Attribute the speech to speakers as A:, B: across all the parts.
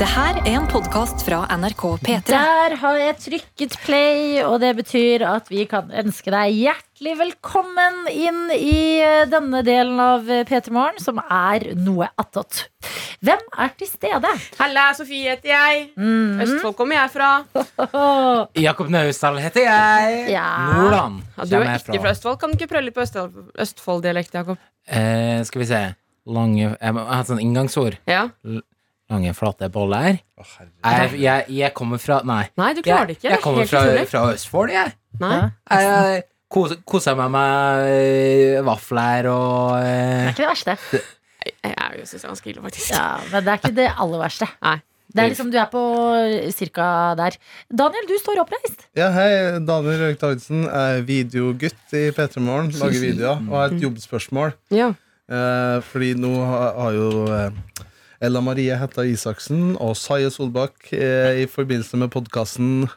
A: Det her er en podkast fra NRK P3.
B: Der har jeg trykket play, og det betyr at vi kan ønske deg hjertelig velkommen inn i eh, denne delen av eh, P3 Morgen, som er noe attåt. Hvem er til stede?
C: Halla, Sofie heter jeg. Østfold kommer jeg fra.
B: Åh,
D: Jakob Naustdal heter jeg.
B: Ja.
D: Nordland
C: Ja, du er
D: kommer jeg
C: ikke fra Østfold. Kan du ikke prøve litt på Østfold- Østfold-dialekt, Jakob?
D: Eh, skal vi se. Lange Jeg må- jeg har et sånt inngangsord.
C: Ja.
D: Lange, flate boller. Jeg, jeg, jeg kommer fra Nei.
C: Nei, du klarer
D: Jeg,
C: det ikke.
D: jeg kommer
C: Helt
D: fra,
C: utrolig.
D: fra Østfold, jeg.
C: Nei.
D: jeg kos- Kosa meg med eh, vafler og
B: det er
D: eh,
B: ikke det verste.
C: Jeg, jeg syns det er ganske ille, faktisk.
B: Ja, men det er ikke det aller verste.
C: Nei.
B: Det er liksom du er på cirka der. Daniel, du står oppreist.
E: Ja, hei. Daniel Røik Davidsen er videogutt i P3 Morgen. Lager videoer. Og har et jobbspørsmål.
C: Ja.
E: Eh, fordi nå har, har jo eh, Ella Marie Hetta Isaksen og Saye Solbakk eh, i forbindelse med podkasten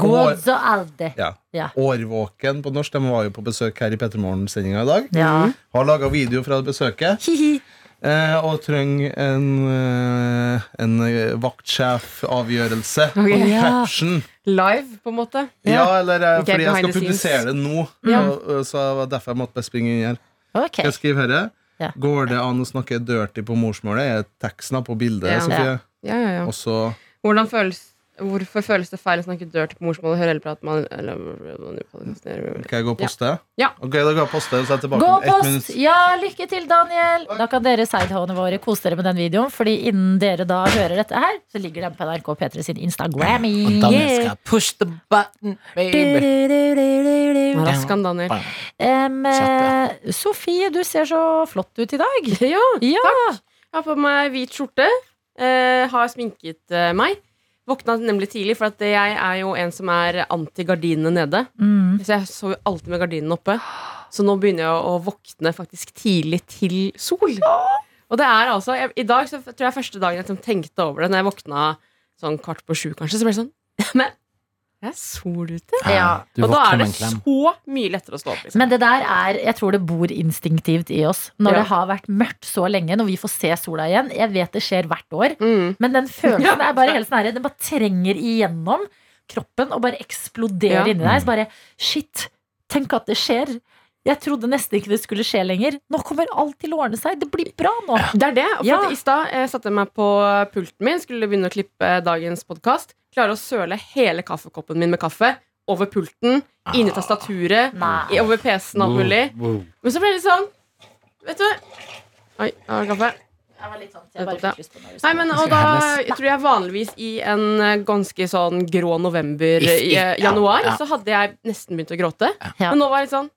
B: God så alde.
E: ja,
B: Ja.
E: Årvåken på norsk. De var jo på besøk her i P3 Morgen-sendinga i dag.
B: Ja.
E: Har laga video fra besøket.
B: Hihi.
E: Eh, og trenger en, eh, en eh, vaktsjefavgjørelse. Og Caption.
C: Live, på en måte.
E: Ja, eller eh,
C: Ok,
E: fordi jeg
C: behind
E: skal
C: the
E: publisere
C: scenes.
E: det nå. Og, og så var det derfor jeg måtte bare springe inn her.
B: Ok.
E: Jeg skriver her
B: Ja.
E: Går det an å snakke dirty på morsmålet? Er teksten på bildet,
C: Ja.
E: Sofie?
C: Ja, ja, ja.
E: Og så
C: Hvordan føles Hvorfor føles det feil å snakke dørt på morsmålet? Høre eller prate med eller-
E: kan jeg gå og poste?
C: Ja.
E: Ok, da går jeg og poster, og så er jeg tilbake
B: Gå
E: om ett
B: post!
E: minutt.
B: Ja, lykke til, Daniel! Da kan dere sidehåene våre kose dere med den videoen, Fordi innen dere da hører dette her, så ligger den på NRK P3 sin Instagrammy.
D: Og Daniel skal push the button, baby.
B: Yeah.
C: Rask han, Daniel.
B: Em,
D: Chat,
B: eh, Sofie, du ser så flott ut i dag.
C: Ja,
B: Ja,
C: Jeg har på meg hvit skjorte. eh, har sminket eh, meg. Våkna nemlig tidlig, for at jeg er jo en som er anti-gardinene nede.
B: mm.
C: Så jeg sov jo alltid med gardinene oppe. Så nå begynner jeg å våkne faktisk tidlig til sol. Og det er altså jeg, I dag så f- tror jeg første dagen jeg liksom tenkte over det, når jeg våkna sånn kvart på sju, kanskje, så ble det sånn Men det er sol ute.
B: Ja.
D: Du
C: Og da
D: våkner
C: er
D: med
C: det
D: en klem.
C: så mye lettere å stå opp. Liksom.
B: Men det der er, jeg tror det bor instinktivt i oss. Når
C: Ja.
B: det har vært mørkt så lenge, når vi får se sola igjen. Jeg vet det skjer hvert år,
C: Mm.
B: men den følelsen
C: Ja.
B: er bare helt sånn her, den bare trenger igjennom kroppen og bare eksploderer
C: Ja.
B: inni deg. Så bare shit, tenk at det skjer. Jeg trodde nesten ikke det skulle skje lenger. Nå kommer alt til å ordne seg. Det blir bra nå.
C: Det er det. For
B: Ja.
C: at I stad eh, satte jeg meg på pulten min, skulle begynne å klippe dagens podkast. Klarer å søle hele kaffekoppen min med kaffe over pulten,
D: Ah.
C: inn i tastaturet,
B: Nei.
C: i- over PC-en alt mulig.
D: Wow.
C: Men så ble det litt sånn Vet du Oi, jeg har kaffe.
B: Jeg var litt sånn,
C: jeg bare fikk
B: lyst på
C: Nei, men og da jeg tror jeg vanligvis i en eh, ganske sånn grå november
D: If-
C: i eh,
D: if- ja,
C: januar,
D: ja.
C: så hadde jeg nesten begynt å gråte.
B: Ja.
C: Men nå var jeg litt sånn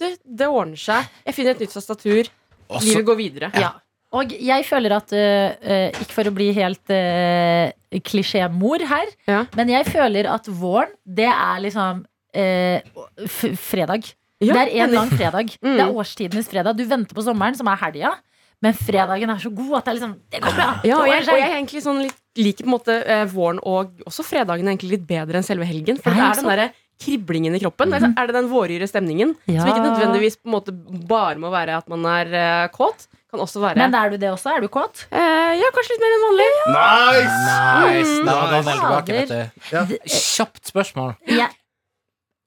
C: det, det ordner seg. Jeg finner et nytt tastatur.
D: Og så-
C: Livet går videre.
B: Ja. Og jeg føler at, øh, øh, ikke for å bli helt øh, klisjémor her,
C: Ja.
B: men jeg føler at våren, det er liksom øh, f fredag.
C: Ja,
B: det er en lang fredag.
C: Mm.
B: Det er årstidenes fredag. Du venter på sommeren, som er helga. Men fredagen er så god at det er liksom Det går bra!
C: Ja, og
B: det ordner
C: jeg, og
B: seg.
C: jeg er egentlig sånn litt, liker på en måte eh, våren og også fredagen egentlig litt bedre enn selve helgen. For
B: Ja,
C: det
B: ikke
C: er den derre kriblingen i
D: Mhm.
C: kroppen. Altså, Er det den våryre stemningen?
B: Ja.
C: Som ikke nødvendigvis på en måte bare må være at man er eh, kåt. Kan også være
B: Men er du det også? Er du kåt?
C: eh, Ja, kanskje litt mer enn vanlig.
E: Nice!
D: Nice! Da er Daniel
B: Fader.
D: tilbake,
E: Ja.
D: vet du. Kjapt spørsmål.
B: Jeg,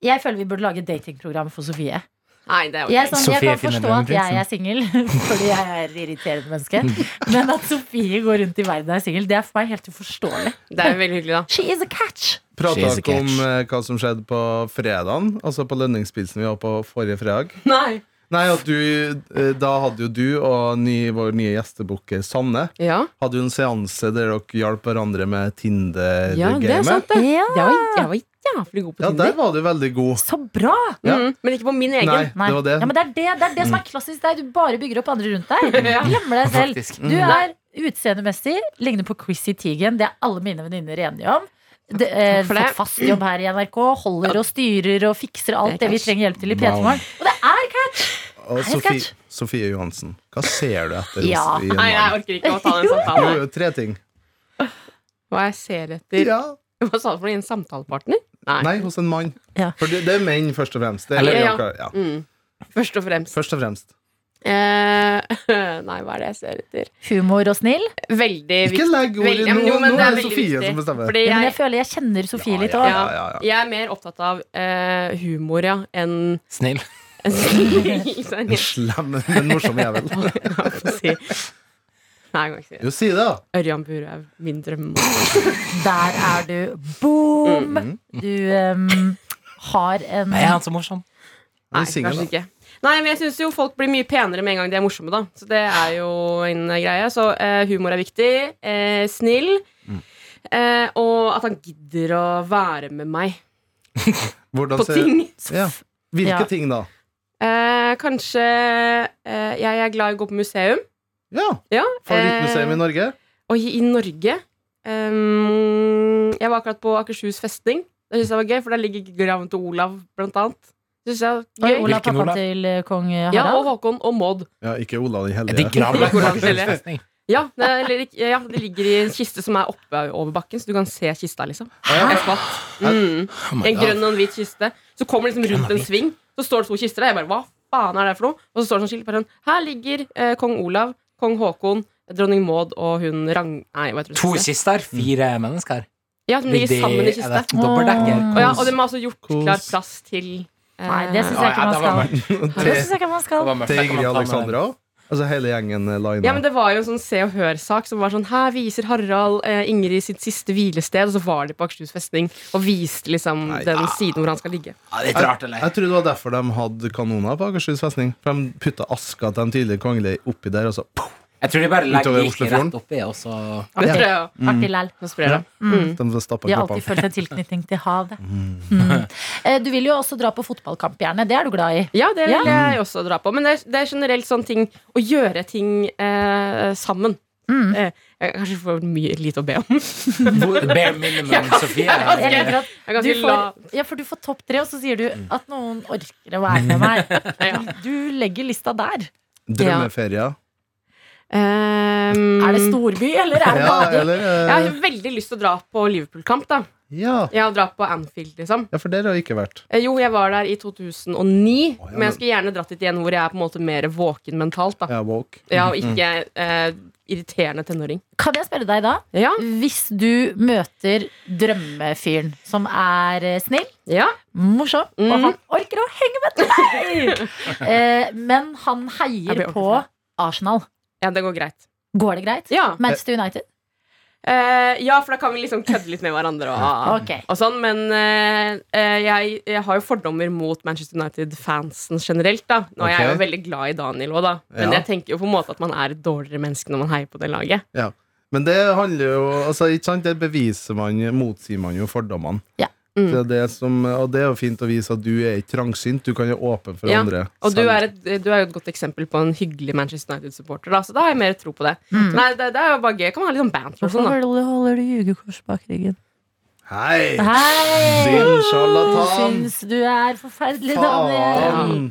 B: jeg føler vi burde lage et datingprogram for Sofie.
C: Nei, det er jo
B: Jeg, er sånn, jeg
D: Sofie
B: kan
D: finner
B: forstå at jeg
D: drømmeprinsen.
B: er singel, fordi jeg er irriterende menneske. Men at Sofie går rundt i verden og er singel, det er for meg helt uforståelig.
C: Det er jo veldig hyggelig, da.
B: She is a catch!
E: Prata
D: She's a
E: dere om
D: catch.
E: eh, hva som skjedde på fredagen? Altså på lønningspilsen vi var på forrige fredag?
C: Nei.
E: Nei, at du, eh, Da hadde jo du og ny, vår nye gjestebukker Sanne
C: Ja,
E: Hadde jo en seanse der dere hjalp hverandre med
C: ja
E: Tinder-gamet.
C: det er sant, det.
B: Ja,
C: Jeg var, jeg var jævlig god på
E: Ja, der
C: Tinder.
E: var du veldig god.
B: Så bra!
E: ja.
C: Mm, men ikke på min egen.
E: Nei,
B: Nei.
E: det var det.
B: Ja, men det, er det, det er det som er klassisk deg. Du bare bygger opp andre rundt deg.
C: Ja.
B: Glemmer deg selv.
D: Faktisk.
B: Du er utseendemessig, ligner på Chrissy Teigen. Det er alle mine venninner enige om. Det, eh,
C: Takk for det.
B: Fått fast jobb her i NRK. Holder og styrer og fikser alt
C: Det er
B: det vi
C: catch.
B: trenger hjelp til i
D: Wow.
B: P3 Morgen. Og det er catch!
E: Og
B: Nei,
E: Sofie,
B: sketsj.
E: Sofie Johansen, hva ser du etter
B: Ja.
E: i en
C: Nei, jeg
E: mann?
C: orker ikke å ta den
E: Jo,
C: samtalen.
E: jo, tre ting.
C: Hva jeg ser etter
E: Ja.
C: Hva sa du for noe? En samtalepartner?
E: Nei, hos en mann.
B: Ja.
E: For det, det er menn, først og fremst. Det er
C: Eller-
E: ja.
C: Mm. Først og fremst.
E: Først og fremst.
C: Eh, nei, hva er det jeg ser etter?
B: Humor og snill.
C: Veldig
E: Ikke legg ord i
C: Veldig- ja, men
E: nå.
C: jo, men
E: Nå
C: det
E: er det
C: veldig
E: Sofie
C: viktig,
E: som bestemmer.
C: fordi
B: Ja, men jeg
C: jeg,
B: føler jeg kjenner Sofie litt òg.
E: Ja, ja, ja.
C: jeg er mer opptatt av eh, humor, ja, enn
D: Snill.
C: Sånn,
E: En slem, men morsom jævel.
C: ja, få si. Nei, jeg kan ikke si det.
E: Jo, si det, da.
C: Ørjan Burhaug, min drøm.
B: Der er du. Boom! Du ehm, har en
D: Men er han så morsom?
C: Nei,
E: Du synger,
C: kanskje
E: da.
C: ikke. Nei, men jeg syns jo folk blir mye penere med en gang de er morsomme, da. Så det er jo en greie. Så eh, humor er viktig. Eh, snill.
E: Mm.
C: Eh, og at han gidder å være med meg
E: Hvordan
C: på
E: ser-
C: ting.
E: Ja. Hvilke
B: Ja.
E: ting, da?
C: Eh, kanskje eh, Jeg er glad i å gå på museum.
E: Ja.
C: Ja.
E: Favorittmuseum i
C: eh,
E: Norge?
C: og i, i Norge ehm, Jeg var akkurat på Akershus festning. Det syns jeg var gøy, for der ligger graven til Olav, blant annet. Det synes jeg
B: Oi,
C: var gøy.
B: Olav,
D: Hvilken
B: pappa
D: Olav?
B: til eh, kong Harald.
C: Ja, og Håkon og Maud.
E: Ja, ikke Olav den
D: Er det
E: hellige.
D: grav
C: Hvor han skiller.
D: festning?
C: Ja, det, eller, ikke- ja, det ligger i en kiste som er oppe over bakken, så du kan se kista, liksom. Jeg skvatt. Mm.
D: Oh my
C: En
D: God.
C: grønn og en hvit kiste. Så kommer det liksom
D: Grønn
C: rundt
D: og
C: en
D: hvit.
C: sving, så står det to kister der. Jeg bare, hva faen er det for noe? Og så står det sånn skilt på den. Her ligger eh, kong Olav, kong Håkon, dronning Maud og hun Rang... Nei, hva heter hun?
D: To kister, fire mennesker.
C: Ja, som ligger sammen i kiste.
D: Er det dobbeltdekker?
B: Åh.
C: Og, ja, og de har altså gjort
E: Kos.
C: klar plass til eh,
B: Nei, det syns
D: Å,
B: jeg
D: ja,
B: ikke man
D: det var
B: skal.
D: mørkt.
B: Det
E: Tre
B: synes jeg ikke man
D: Det
B: skal.
D: var mørkt.
E: til
D: Jeg kan
E: Ingrid
D: ta med-
E: Alexandra òg? Altså hele gjengen eh, lina?
C: Ja, men Det var jo en sånn Se og Hør-sak som var sånn Her viser Harald eh, Ingrid sitt siste hvilested. Og så var de på Akershus festning og viste liksom
E: Nei.
C: den siden hvor han skal ligge.
D: Ja, det er litt rart, eller?
E: Jeg tror det var derfor de hadde kanoner på Akershus festning. For de putta aska til de tidligere kongelige oppi der, og så poff,
D: Jeg tror de bare legger
E: Utover
D: gikk
E: Oslofjorden.
D: rett oppi, og så
C: Det
E: Ja.
C: tror jeg jo.
B: Artig læl.
C: Nå sprer det.
E: de stappa
B: De har alltid
E: kroppene.
B: følt en tilknytning til havet. Mm. Eh, Du vil jo også dra på fotballkamp, gjerne. Det er du glad i.
C: Ja, det vil
B: Ja.
C: jeg også dra på. Men det er, det er generelt sånn ting å gjøre ting eh, sammen.
B: Mm.
C: Eh, jeg kanskje får mye lite å be om.
D: Bare minimum, Sofie.
B: Jeg liker at
C: Jeg kan
B: du
C: si la,
B: får, ja, for du får topp tre, og så sier du at noen orker å være med meg. Du legger lista der.
E: Drømmeferier.
C: Ehm,
B: Er det storby, eller er det
E: Ja,
B: bading?
E: eller
C: Jeg
E: eh,
C: har veldig lyst til å dra på Liverpool-kamp. da
E: ja.
C: Ja, dra på Anfield, liksom.
E: ja, for der har jeg ikke vært.
C: Eh, Jo, jeg var der i 2009,
E: ja,
C: men
E: men-
C: jeg skulle gjerne dratt dit igjen hvor jeg er på en måte mer våken mentalt. da
E: Jeg er woke.
C: Ja, Og
E: Mm.
C: ikke eh, irriterende tenåring.
B: Kan jeg spørre deg da?
C: Ja,
B: Hvis du møter drømmefyren som er eh, snill,
C: ja
B: morsom, og
C: Mhm.
B: han orker å henge med deg, eh, men han
C: Jeg blir
B: heier
C: ordentlig
B: på Arsenal,
C: Ja, det går greit.
B: går det greit?
C: Ja,
B: Manchester United?
C: eh, ja for da kan vi liksom kødde litt med hverandre. Og,
B: Ok.
C: og sånn, Men eh, eh, jeg, jeg har jo fordommer mot Manchester United-fansen generelt. da Nå er jeg jo
E: Ok.
C: veldig glad i Daniel òg, da. Men
E: Ja.
C: jeg tenker jo på en måte at man er et dårligere menneske når man heier på det laget.
E: Men det handler jo altså, ikke sant? Det beviser man, motsier man jo fordommene.
B: Ja.
C: Mm.
E: Så Det er det som, og det er jo fint å vise at du er ikke trangsynt. Du kan jo åpen for
C: Ja,
E: andre.
C: Og du
E: Selv-
C: er, et, eh, du er jo et godt eksempel på en hyggelig Manchester United-supporter, da så da har jeg mer tro på det.
B: Mm.
C: Nei, det, det er jo bare gøy. Kan man ha litt sånn banter og sånn, da.
B: holder du jugekors bak ryggen?
E: Hei!
B: Hei!
E: Din
B: Du
E: sjarlatan!
B: syns du er forferdelig, Daniel.
E: Faen!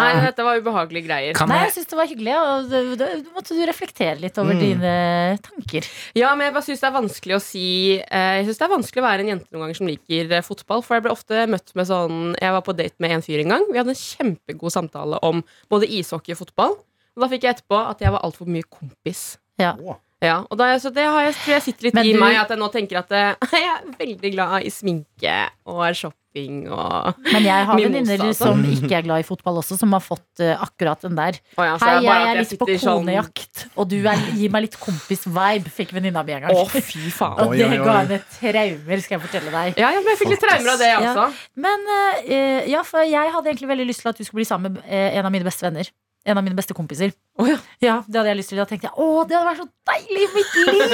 C: Nei, dette var ubehagelige greier.
D: Kan
B: Nei, jeg
D: jeg
B: syns det var hyggelig, og det- det- da måtte du reflektere litt over dine tanker.
C: Ja, men jeg bare synes det er vanskelig å si eh, Jeg synes det er vanskelig å være en jente noen ganger som liker eh, fotball. For jeg ble ofte møtt med sånn Jeg var på date med en fyr en gang. Vi hadde en kjempegod samtale om både ishockey og fotball. Og da fikk jeg etterpå at jeg var altfor mye kompis.
B: Ja.
C: Ja, og da, så det har jeg, tror jeg sitter litt
B: Men
C: i
B: du-
C: meg at jeg nå tenker at eh, jeg er veldig glad i sminke og shopping og
B: Men jeg har
C: Mimosa,
B: venninner
C: altså.
B: som ikke er glad i fotball også, som har fått eh, akkurat den der.
C: Å ja, så
B: Hei,
C: det Altså, bare
B: jeg
C: at
B: er litt på
C: sitter sånn-
B: konejakt, og du er, gir meg litt kompis-vibe, fikk venninna mi en gang.
C: Å, fy faen.
B: Og
E: Oi,
B: det
E: oi, oi.
B: ga henne traumer, skal jeg fortelle deg.
C: Ja, ja, men jeg fikk litt traumer av det, jeg
B: Ja.
C: også.
B: Men eh, ja, for jeg hadde egentlig veldig lyst til at du skulle bli sammen med eh, en av mine beste venner. En av mine beste kompiser.
C: Å, ja.
B: det hadde jeg lyst til. Da tenkte jeg å, det hadde vært så deilig i mitt liv!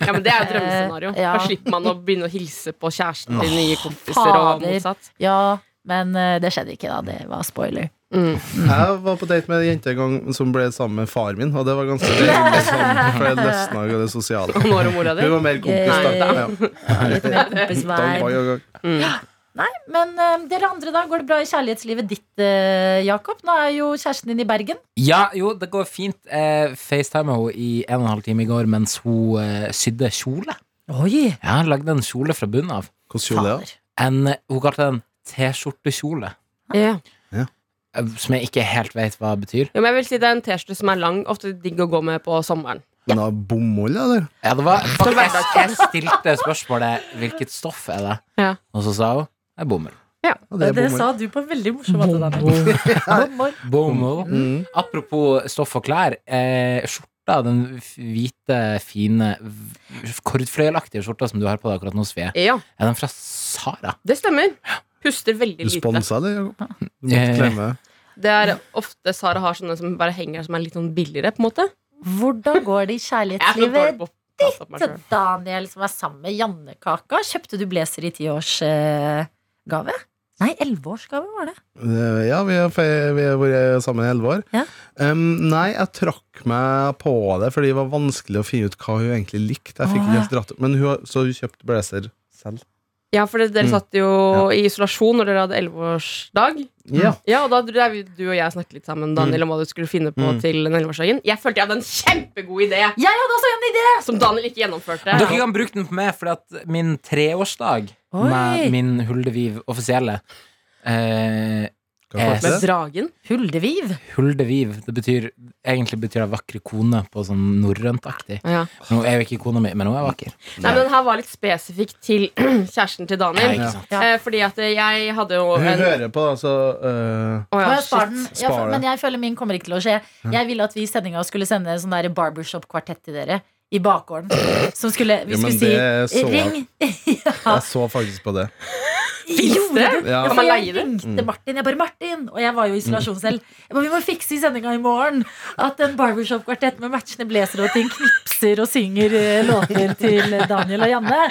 C: Ja, men Det er jo drømmescenario.
B: Eh, ja.
C: Da slipper man å begynne å hilse på kjæresten til nye kompiser. og
B: fader.
C: motsatt
B: ja, men eh, det skjedde ikke, da. Det var spoiler.
C: Mm.
E: Jeg var på date med ei jente en gang som ble sammen med far min, og det var ganske deilig. Sånn, for jeg løsna jo det sosiale.
C: Og nå er det mora di.
E: Hun var mer kompis, da. Ja.
B: Litt mer
E: Da var
B: kompisvei.
E: jeg-
B: Nei, men eh, dere andre, da? Går det bra i kjærlighetslivet ditt, eh, Jakob? Nå er jo kjæresten din i Bergen.
D: Ja, jo, det går fint. Eh, FaceTima henne i en og en halv time i går mens hun eh, sydde kjole.
B: Oi!
D: Ja, hun lagde en kjole fra bunnen av.
E: Hvordan gjorde det?
D: En, eh, hun kalte den T-skjortekjole.
C: Ja.
D: eh, som jeg ikke helt vet hva betyr.
C: Jo, men jeg vil si Det er en T-skjorte som er lang, ofte digg å gå med på sommeren.
E: Nå, bomull, ja, der.
D: Ja, det var faktisk Jeg stilte spørsmålet 'hvilket stoff er det?',
C: Ja.
D: og så sa hun 'det er bomull'.
E: Ja,
B: Det, sånn.
E: det er bomull.
B: sa du på en veldig morsom måte. Daniel. Bomull.
D: Bomull.
E: Mm.
D: Apropos stoff og klær. Eh, skjorta, den f- hvite, fine, v- kordfløyelaktige skjorta som du har på deg akkurat nå, Sve,
C: Ja,
D: er den fra Sara?
C: det stemmer. Puster veldig
E: Du
C: lite.
E: sponsa det, Jakob? Du måtte
D: Eh.
E: klemme.
C: Det er ofte Sara har sånne som bare henger som er litt sånn billigere, på en måte.
B: Hvordan går det i
C: Jeg er så dårlig
B: kjærlighetslivet
C: på å prate opp meg
B: til
C: selv.
B: Daniel, som er sammen med Jannekaka? Kjøpte du blazer i tiårsgave? Nei, elleveårsgave var det.
E: Eh, Ja, vi har, fe- vi har vært sammen i elleve år.
B: Ja.
E: Em, nei, jeg trakk meg på det, fordi det var vanskelig å finne ut hva hun egentlig likte. Jeg
B: Å,
E: fikk ikke
B: ja.
E: helt dratt opp, Men hun, har- så hun kjøpte blazer selv.
C: Ja, for dere
E: Mm.
C: satt jo i isolasjon når dere hadde elleveårsdag.
E: Ja.
C: Ja, og da drev jo du og jeg snakket litt sammen Daniel, om hva du skulle finne på
E: Mm.
C: til den 11-årsdagen. Jeg følte jeg hadde en kjempegod idé
B: Jeg hadde også en idé!
C: som Daniel ikke gjennomførte.
D: Dere kan bruke den på meg, for at min treårsdag
B: Oi.
D: med min Huldeviv offisielle eh,
E: Skal jeg
D: Eh,
E: fortsette?
C: Med dragen.
B: Huldeviv.
D: Huldeviv, det betyr egentlig betyr det vakre kone på sånn norrøntaktig.
C: Ja.
D: Nå er jo ikke kona mi, men hun er vakker.
C: Nei, men den her var litt spesifikk til kjæresten til
D: Ja,
C: Daniel.
D: ikke sant?
B: Ja.
C: Eh, fordi at jeg hadde jo
E: Hun
C: en
E: hører på, altså.
C: Å
E: eh,
C: ja,
B: Å, jeg spar
C: shit.
B: den. Jeg,
E: Spar
B: føl-
E: det.
B: men jeg føler min kommer ikke til å skje. Jeg ville at vi i sendinga skulle sende en sånn der barbershop-kvartett til dere. I bakgården. Som skulle Vi
E: Ja, men
B: skulle
E: det
B: si
E: så jeg.
B: ring. ja.
E: jeg så faktisk på det.
B: Gjorde
C: det?
B: du?
E: Ja.
B: Ja,
C: Kan
B: for
C: man
B: jeg
C: leie det?
B: ringte Martin. Jeg bare Martin, og jeg var jo i isolasjon selv. Jeg bare, vi må fikse i sendinga i morgen at en barbershop-kvartett med matchende blazer og ting knipser og synger eh, låter til Daniel og Janne.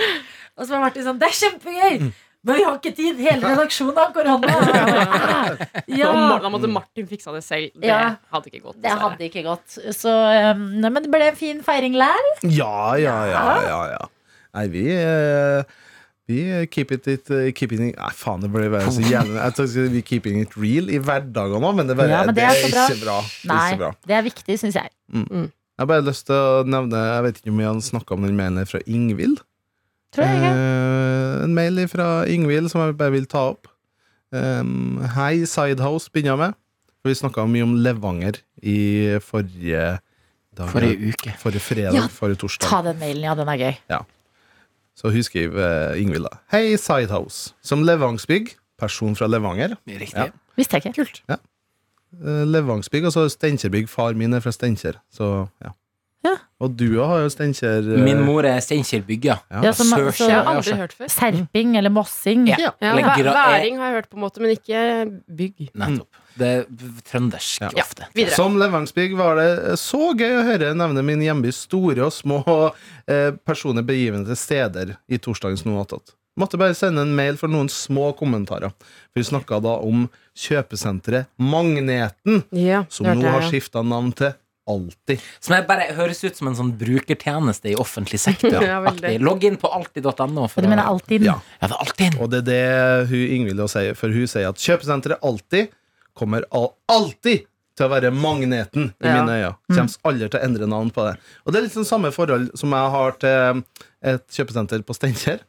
B: Og så var Martin sånn Det er kjempegøy! Men vi har ikke tid! Hele redaksjonen har korona! Og jeg bare, «Ah,
C: Og
B: Ja.
C: Mar- Da måtte Martin fiksa det selv. Det
B: Ja.
C: hadde ikke
B: Det
C: gått. dessverre.
B: hadde ikke gått. Så eh, nei, men det ble en fin feiring lær.
E: Ja, ja, ja, ja, ja. Nei, vi eh, Vi keep it, it eh, keeping it, Nei, faen, det ble bare så jævlig Jeg tenkte å si vi keeping it real i hverdagen òg, men det, bare,
B: Ja, men det er så bra.
E: ikke bra. Det er
B: Nei,
E: ikke bra.
B: det er viktig, syns jeg.
E: Jeg har bare lyst til å nevne Jeg vet ikke om vi har snakka om den mailen fra Ingvild.
B: Tror jeg. ikke.
E: Eh, en mail fra Ingvild som jeg bare vil ta opp. Um, Hei, Sidehouse begynner jeg med. For Vi snakka mye om Levanger i forrige dag,
D: Forrige uke.
E: forrige fredag,
B: Ja,
E: forrige torsdag.
B: Ta den mailen, ja. Den er gøy.
E: Så hun skriver eh, Ingvild da. Hei, Sidehouse. Som levangsbygg, person fra Levanger.
D: Riktig.
B: Visste jeg ikke. Kult.
E: Eh, Levangsbygg, og så Steinkjerbygg. Far min er fra Steinkjer. Så, ja.
B: Ja.
E: Og du har jo Steinkjer eh,
D: Min mor er Steinkjer Bygga.
B: Ja, så, ma-
D: Sørskjær.
C: Det
B: så,
C: har jeg aldri hørt før.
B: Serping eller mossing.
D: Ja.
C: Ja,
D: Eller
C: væ-
D: gra-
C: væring har jeg hørt, på en måte, men ikke bygg.
D: Nettopp. Det er v- trøndersk
E: Ja.
D: ofte.
C: Videre.
E: Som levangsbygg var det eh, så gøy å høre nevne min hjemby store og små eh, personer begivende til steder i torsdagens Noe attåt. Måtte bare sende en mail for noen små kommentarer. Vi snakka da om kjøpesenteret Magneten,
C: Ja,
E: som
C: det hørte
E: nå
C: jeg,
E: har
C: ja.
E: skifta navn til Alltid.
D: Som jeg bare høres ut som en sånn brukertjeneste i offentlig sektor.
C: Ja, veldig.
D: aktig. Logg inn på alltid.no. for
B: Og du
D: å-
B: mener alltid
E: Ja.
D: Ja, det er alltid
E: Og det er det hun Ingvild også sier, for hun sier at kjøpesenteret alltid kommer al alltid til å være magneten i
C: Ja.
E: mine øyne. Kommer aldri til å endre navn på det. Og det er litt sånn samme forhold som jeg har til um, et kjøpesenter på Steinkjer.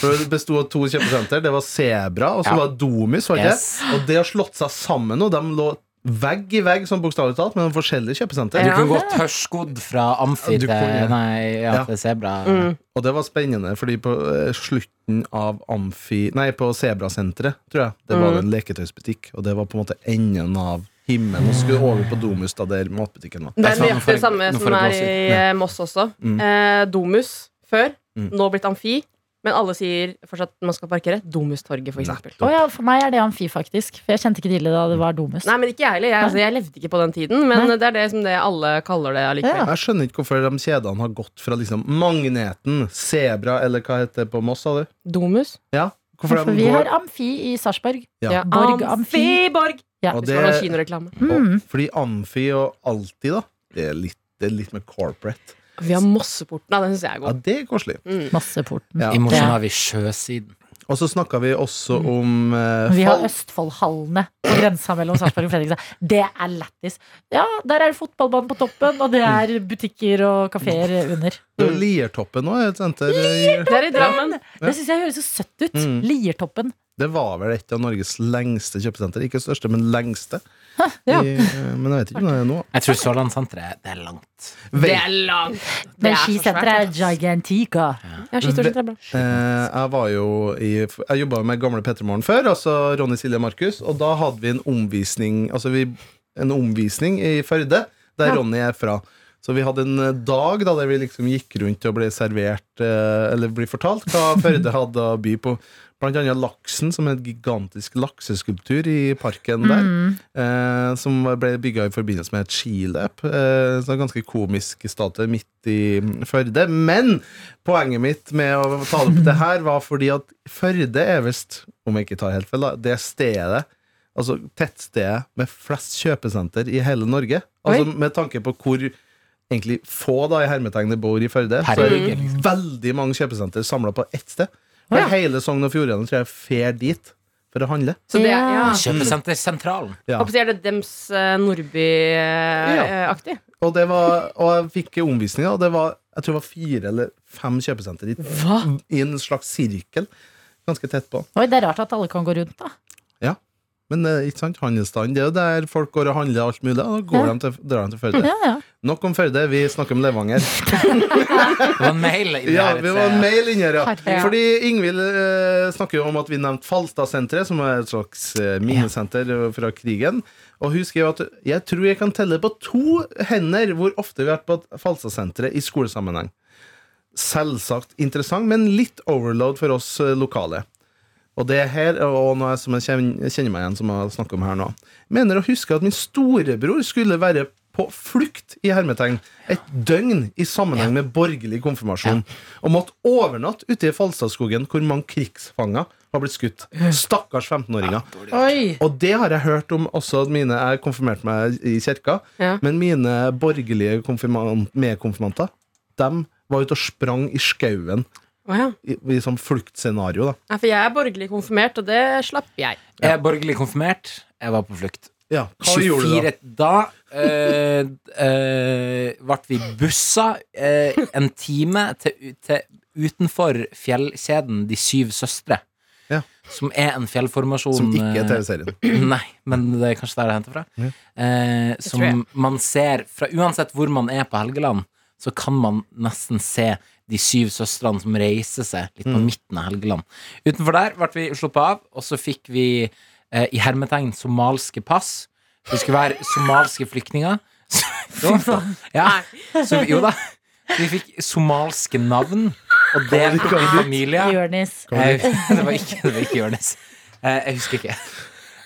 E: For Det besto av to kjøpesenter. Det var Sebra, og så
D: Ja.
E: var det Domus. Var det?
D: Yes.
E: ikke? Og det har slått seg sammen nå. De lå vegg i vegg, sånn bokstavelig talt, mellom forskjellige kjøpesenter.
D: Du
C: Ja.
D: kunne gå tørrskodd fra amfi
E: Ja, du
D: til
E: kunne.
D: Nei, ja,
E: Ja.
D: til sebra.
C: Mm.
E: Og det var spennende, fordi på eh, slutten av Amfi Nei, på Sebrasenteret, tror jeg, det
B: Mm.
E: var det en leketøysbutikk, og det var på en måte enden av himmelen. Og skulle over på Domus, da, der matbutikken var.
C: Det
D: Jeg
C: er
D: sa nå får
C: nøyaktig det
D: jeg-
C: samme
D: nå får
C: som
D: jeg
C: er
D: blåse
C: i
D: i.
C: eh, Moss også. Eh, Domus før,
E: Mm.
C: nå blitt amfi. Men alle sier fortsatt at man skal parkere Domustorget, for eksempel.
B: Å ja, for meg er det amfi, faktisk. For jeg kjente ikke tidlig da det var domus.
C: Nei, men ikke jeg heller. Jeg, altså, jeg levde ikke på den tiden, men
B: Nei.
C: det er det som det alle kaller det allikevel.
B: Ja.
E: Jeg skjønner ikke hvorfor de kjedene har gått fra liksom Magneten, Sebra, eller hva heter det på Moss, sa du?
C: Domus.
E: Ja, hvorfor
B: For
E: de
B: vi har
E: går
B: amfi i Sarpsborg.
E: Ja.
B: Borg, amfi.
C: Borg!
E: og
C: Hvis det
E: det,
C: var noen kinoreklame.
E: og,
B: Mm.
E: Fordi Amfi og Alltid, da, det er litt, det er litt med corporate.
C: Vi har Mosseporten, da. Den syns jeg er
E: Ja,
C: god.
E: det er koselig.
C: Mm.
B: Masseporten.
E: Ja.
D: I
B: Det-
D: Mosjøen har vi sjøsiden.
E: Og så snakka vi også om eh,
B: Mm. Vi har
E: fall-
B: Østfoldhallene på grensa mellom Sarpsborg og Fredrikstad. Det er lættis. Ja, der er det fotballbanen på toppen, og det er
E: Mm.
B: butikker og kafeer under.
E: Det er jo Liertoppen nå, er et senter. eh,
C: Det er i Drammen.
B: Det syns jeg høres så søtt ut.
E: Mm.
B: Liertoppen.
E: Det var vel et av Norges lengste kjøpesenter. Ikke største, men lengste.
C: ja.
E: I, eh, men jeg vet ikke om det er nå.
D: Jeg tror Sørlandssenteret det er langt.
C: Det
E: Vel,
C: er langt. Det
B: Men
C: er så
B: skisenteret er
C: svært,
B: gigantica.
C: Ja, skisenteret er bra.
E: eh, jeg var jo i Jeg jobba med gamle P3morgen før, altså Ronny, Silje og Markus, og da hadde vi en omvisning Altså vi, en omvisning i Førde, der
C: Ja.
E: Ronny er fra. Så vi hadde en eh, dag da der vi liksom gikk rundt og ble servert eh, Eller ble fortalt hva Førde hadde å by på. Blant annet laksen, som er en gigantisk lakseskulptur i parken der. eh, som ble bygga i forbindelse med et skiløp. Eh, så en ganske komisk statue midt i Førde. Men poenget mitt med å ta opp det her var fordi at Førde er visst, om jeg ikke tar helt feil, da, det stedet Altså tettstedet med flest kjøpesenter i hele Norge. Altså Med tanke på hvor egentlig få da i hermetegn det bor i Førde, så er
D: Herregud,
E: det veldig mange kjøpesenter samla på ett sted. For
B: Ja.
E: Hele Sogn og Fjordane tror jeg fer dit for å handle.
C: Så det, er-
B: Ja.
C: ja.
D: Kjøpesentersentralen.
E: Ja.
C: Håper jeg Er det dems eh, Nordby-aktig?
E: Og, det var, og jeg fikk omvisninger, og det var, jeg tror det var fire eller fem kjøpesenter i,
C: Hva?
E: i en slags sirkel. Ganske tett på.
B: Oi, det er rart at alle kan gå rundt, da.
E: Men eh, ikke sant, handelsstand, det er jo der folk går og handler alt mulig, og da går de til, drar de til Førde.
B: Ja, ja.
E: Nok om Førde, vi snakker om Levanger.
D: Det var en mail. i det
E: Ja,
D: her, eh,
E: vi var en mail inni her, ja.
B: Herregud.
E: Fordi Ingvild eh, snakker jo om at vi nevnte Falstadsenteret, som er et slags eh, minnesenter eh, fra krigen. Og hun skriver at jeg tror jeg kan telle på to hender hvor ofte vi har vært på Falstadsenteret i skolesammenheng. Selvsagt interessant, men litt overload for oss eh, lokale. Og det er her, og noe som jeg kjen- kjenner meg igjen, som jeg snakker om her nå. Mener å huske at min storebror skulle være på flukt i hermetegn et døgn i sammenheng med borgerlig konfirmasjon, og måtte overnatte ute i Falstadskogen, hvor mange krigsfanger har blitt skutt. Stakkars 15-åringer.
B: Oi.
E: Og det har jeg hørt om også at mine Jeg konfirmerte meg i kirka,
C: Ja.
E: men mine borgerlige konfirman- medkonfirmanter, dem var ute og sprang i skauen
C: Å ja.
E: i, i sånn fluktscenario, da.
C: Nei, for jeg er borgerlig konfirmert, og det slapp jeg.
D: Jeg er borgerlig konfirmert. Jeg var på flukt.
E: Ja, hva gjorde du da?
D: 24 Da eh, eh, ble vi bussa eh, en time til, til utenfor fjellkjeden De syv søstre.
E: Ja.
D: Som er en fjellformasjon
E: Som ikke er
D: eh,
E: TV-serien.
D: Nei, men det er kanskje der det henter fra.
E: Ja.
D: Eh,
C: tror
D: som
C: jeg.
D: man ser fra Uansett hvor man er på Helgeland, så kan man nesten se de syv søstrene som reiser seg litt på midten av Helgeland. Utenfor der ble vi sluppet av, og så fikk vi eh, i hermetegn somalske pass. Vi skulle være somalske flyktninger. Så, ja,
C: Nei.
D: så, vi- jo da. Vi fikk somalske navn og delte opp i familier.
B: Jonis.
D: Jeg, Eh, det var ikke, det var ikke Jonis. Eh, Jeg husker ikke.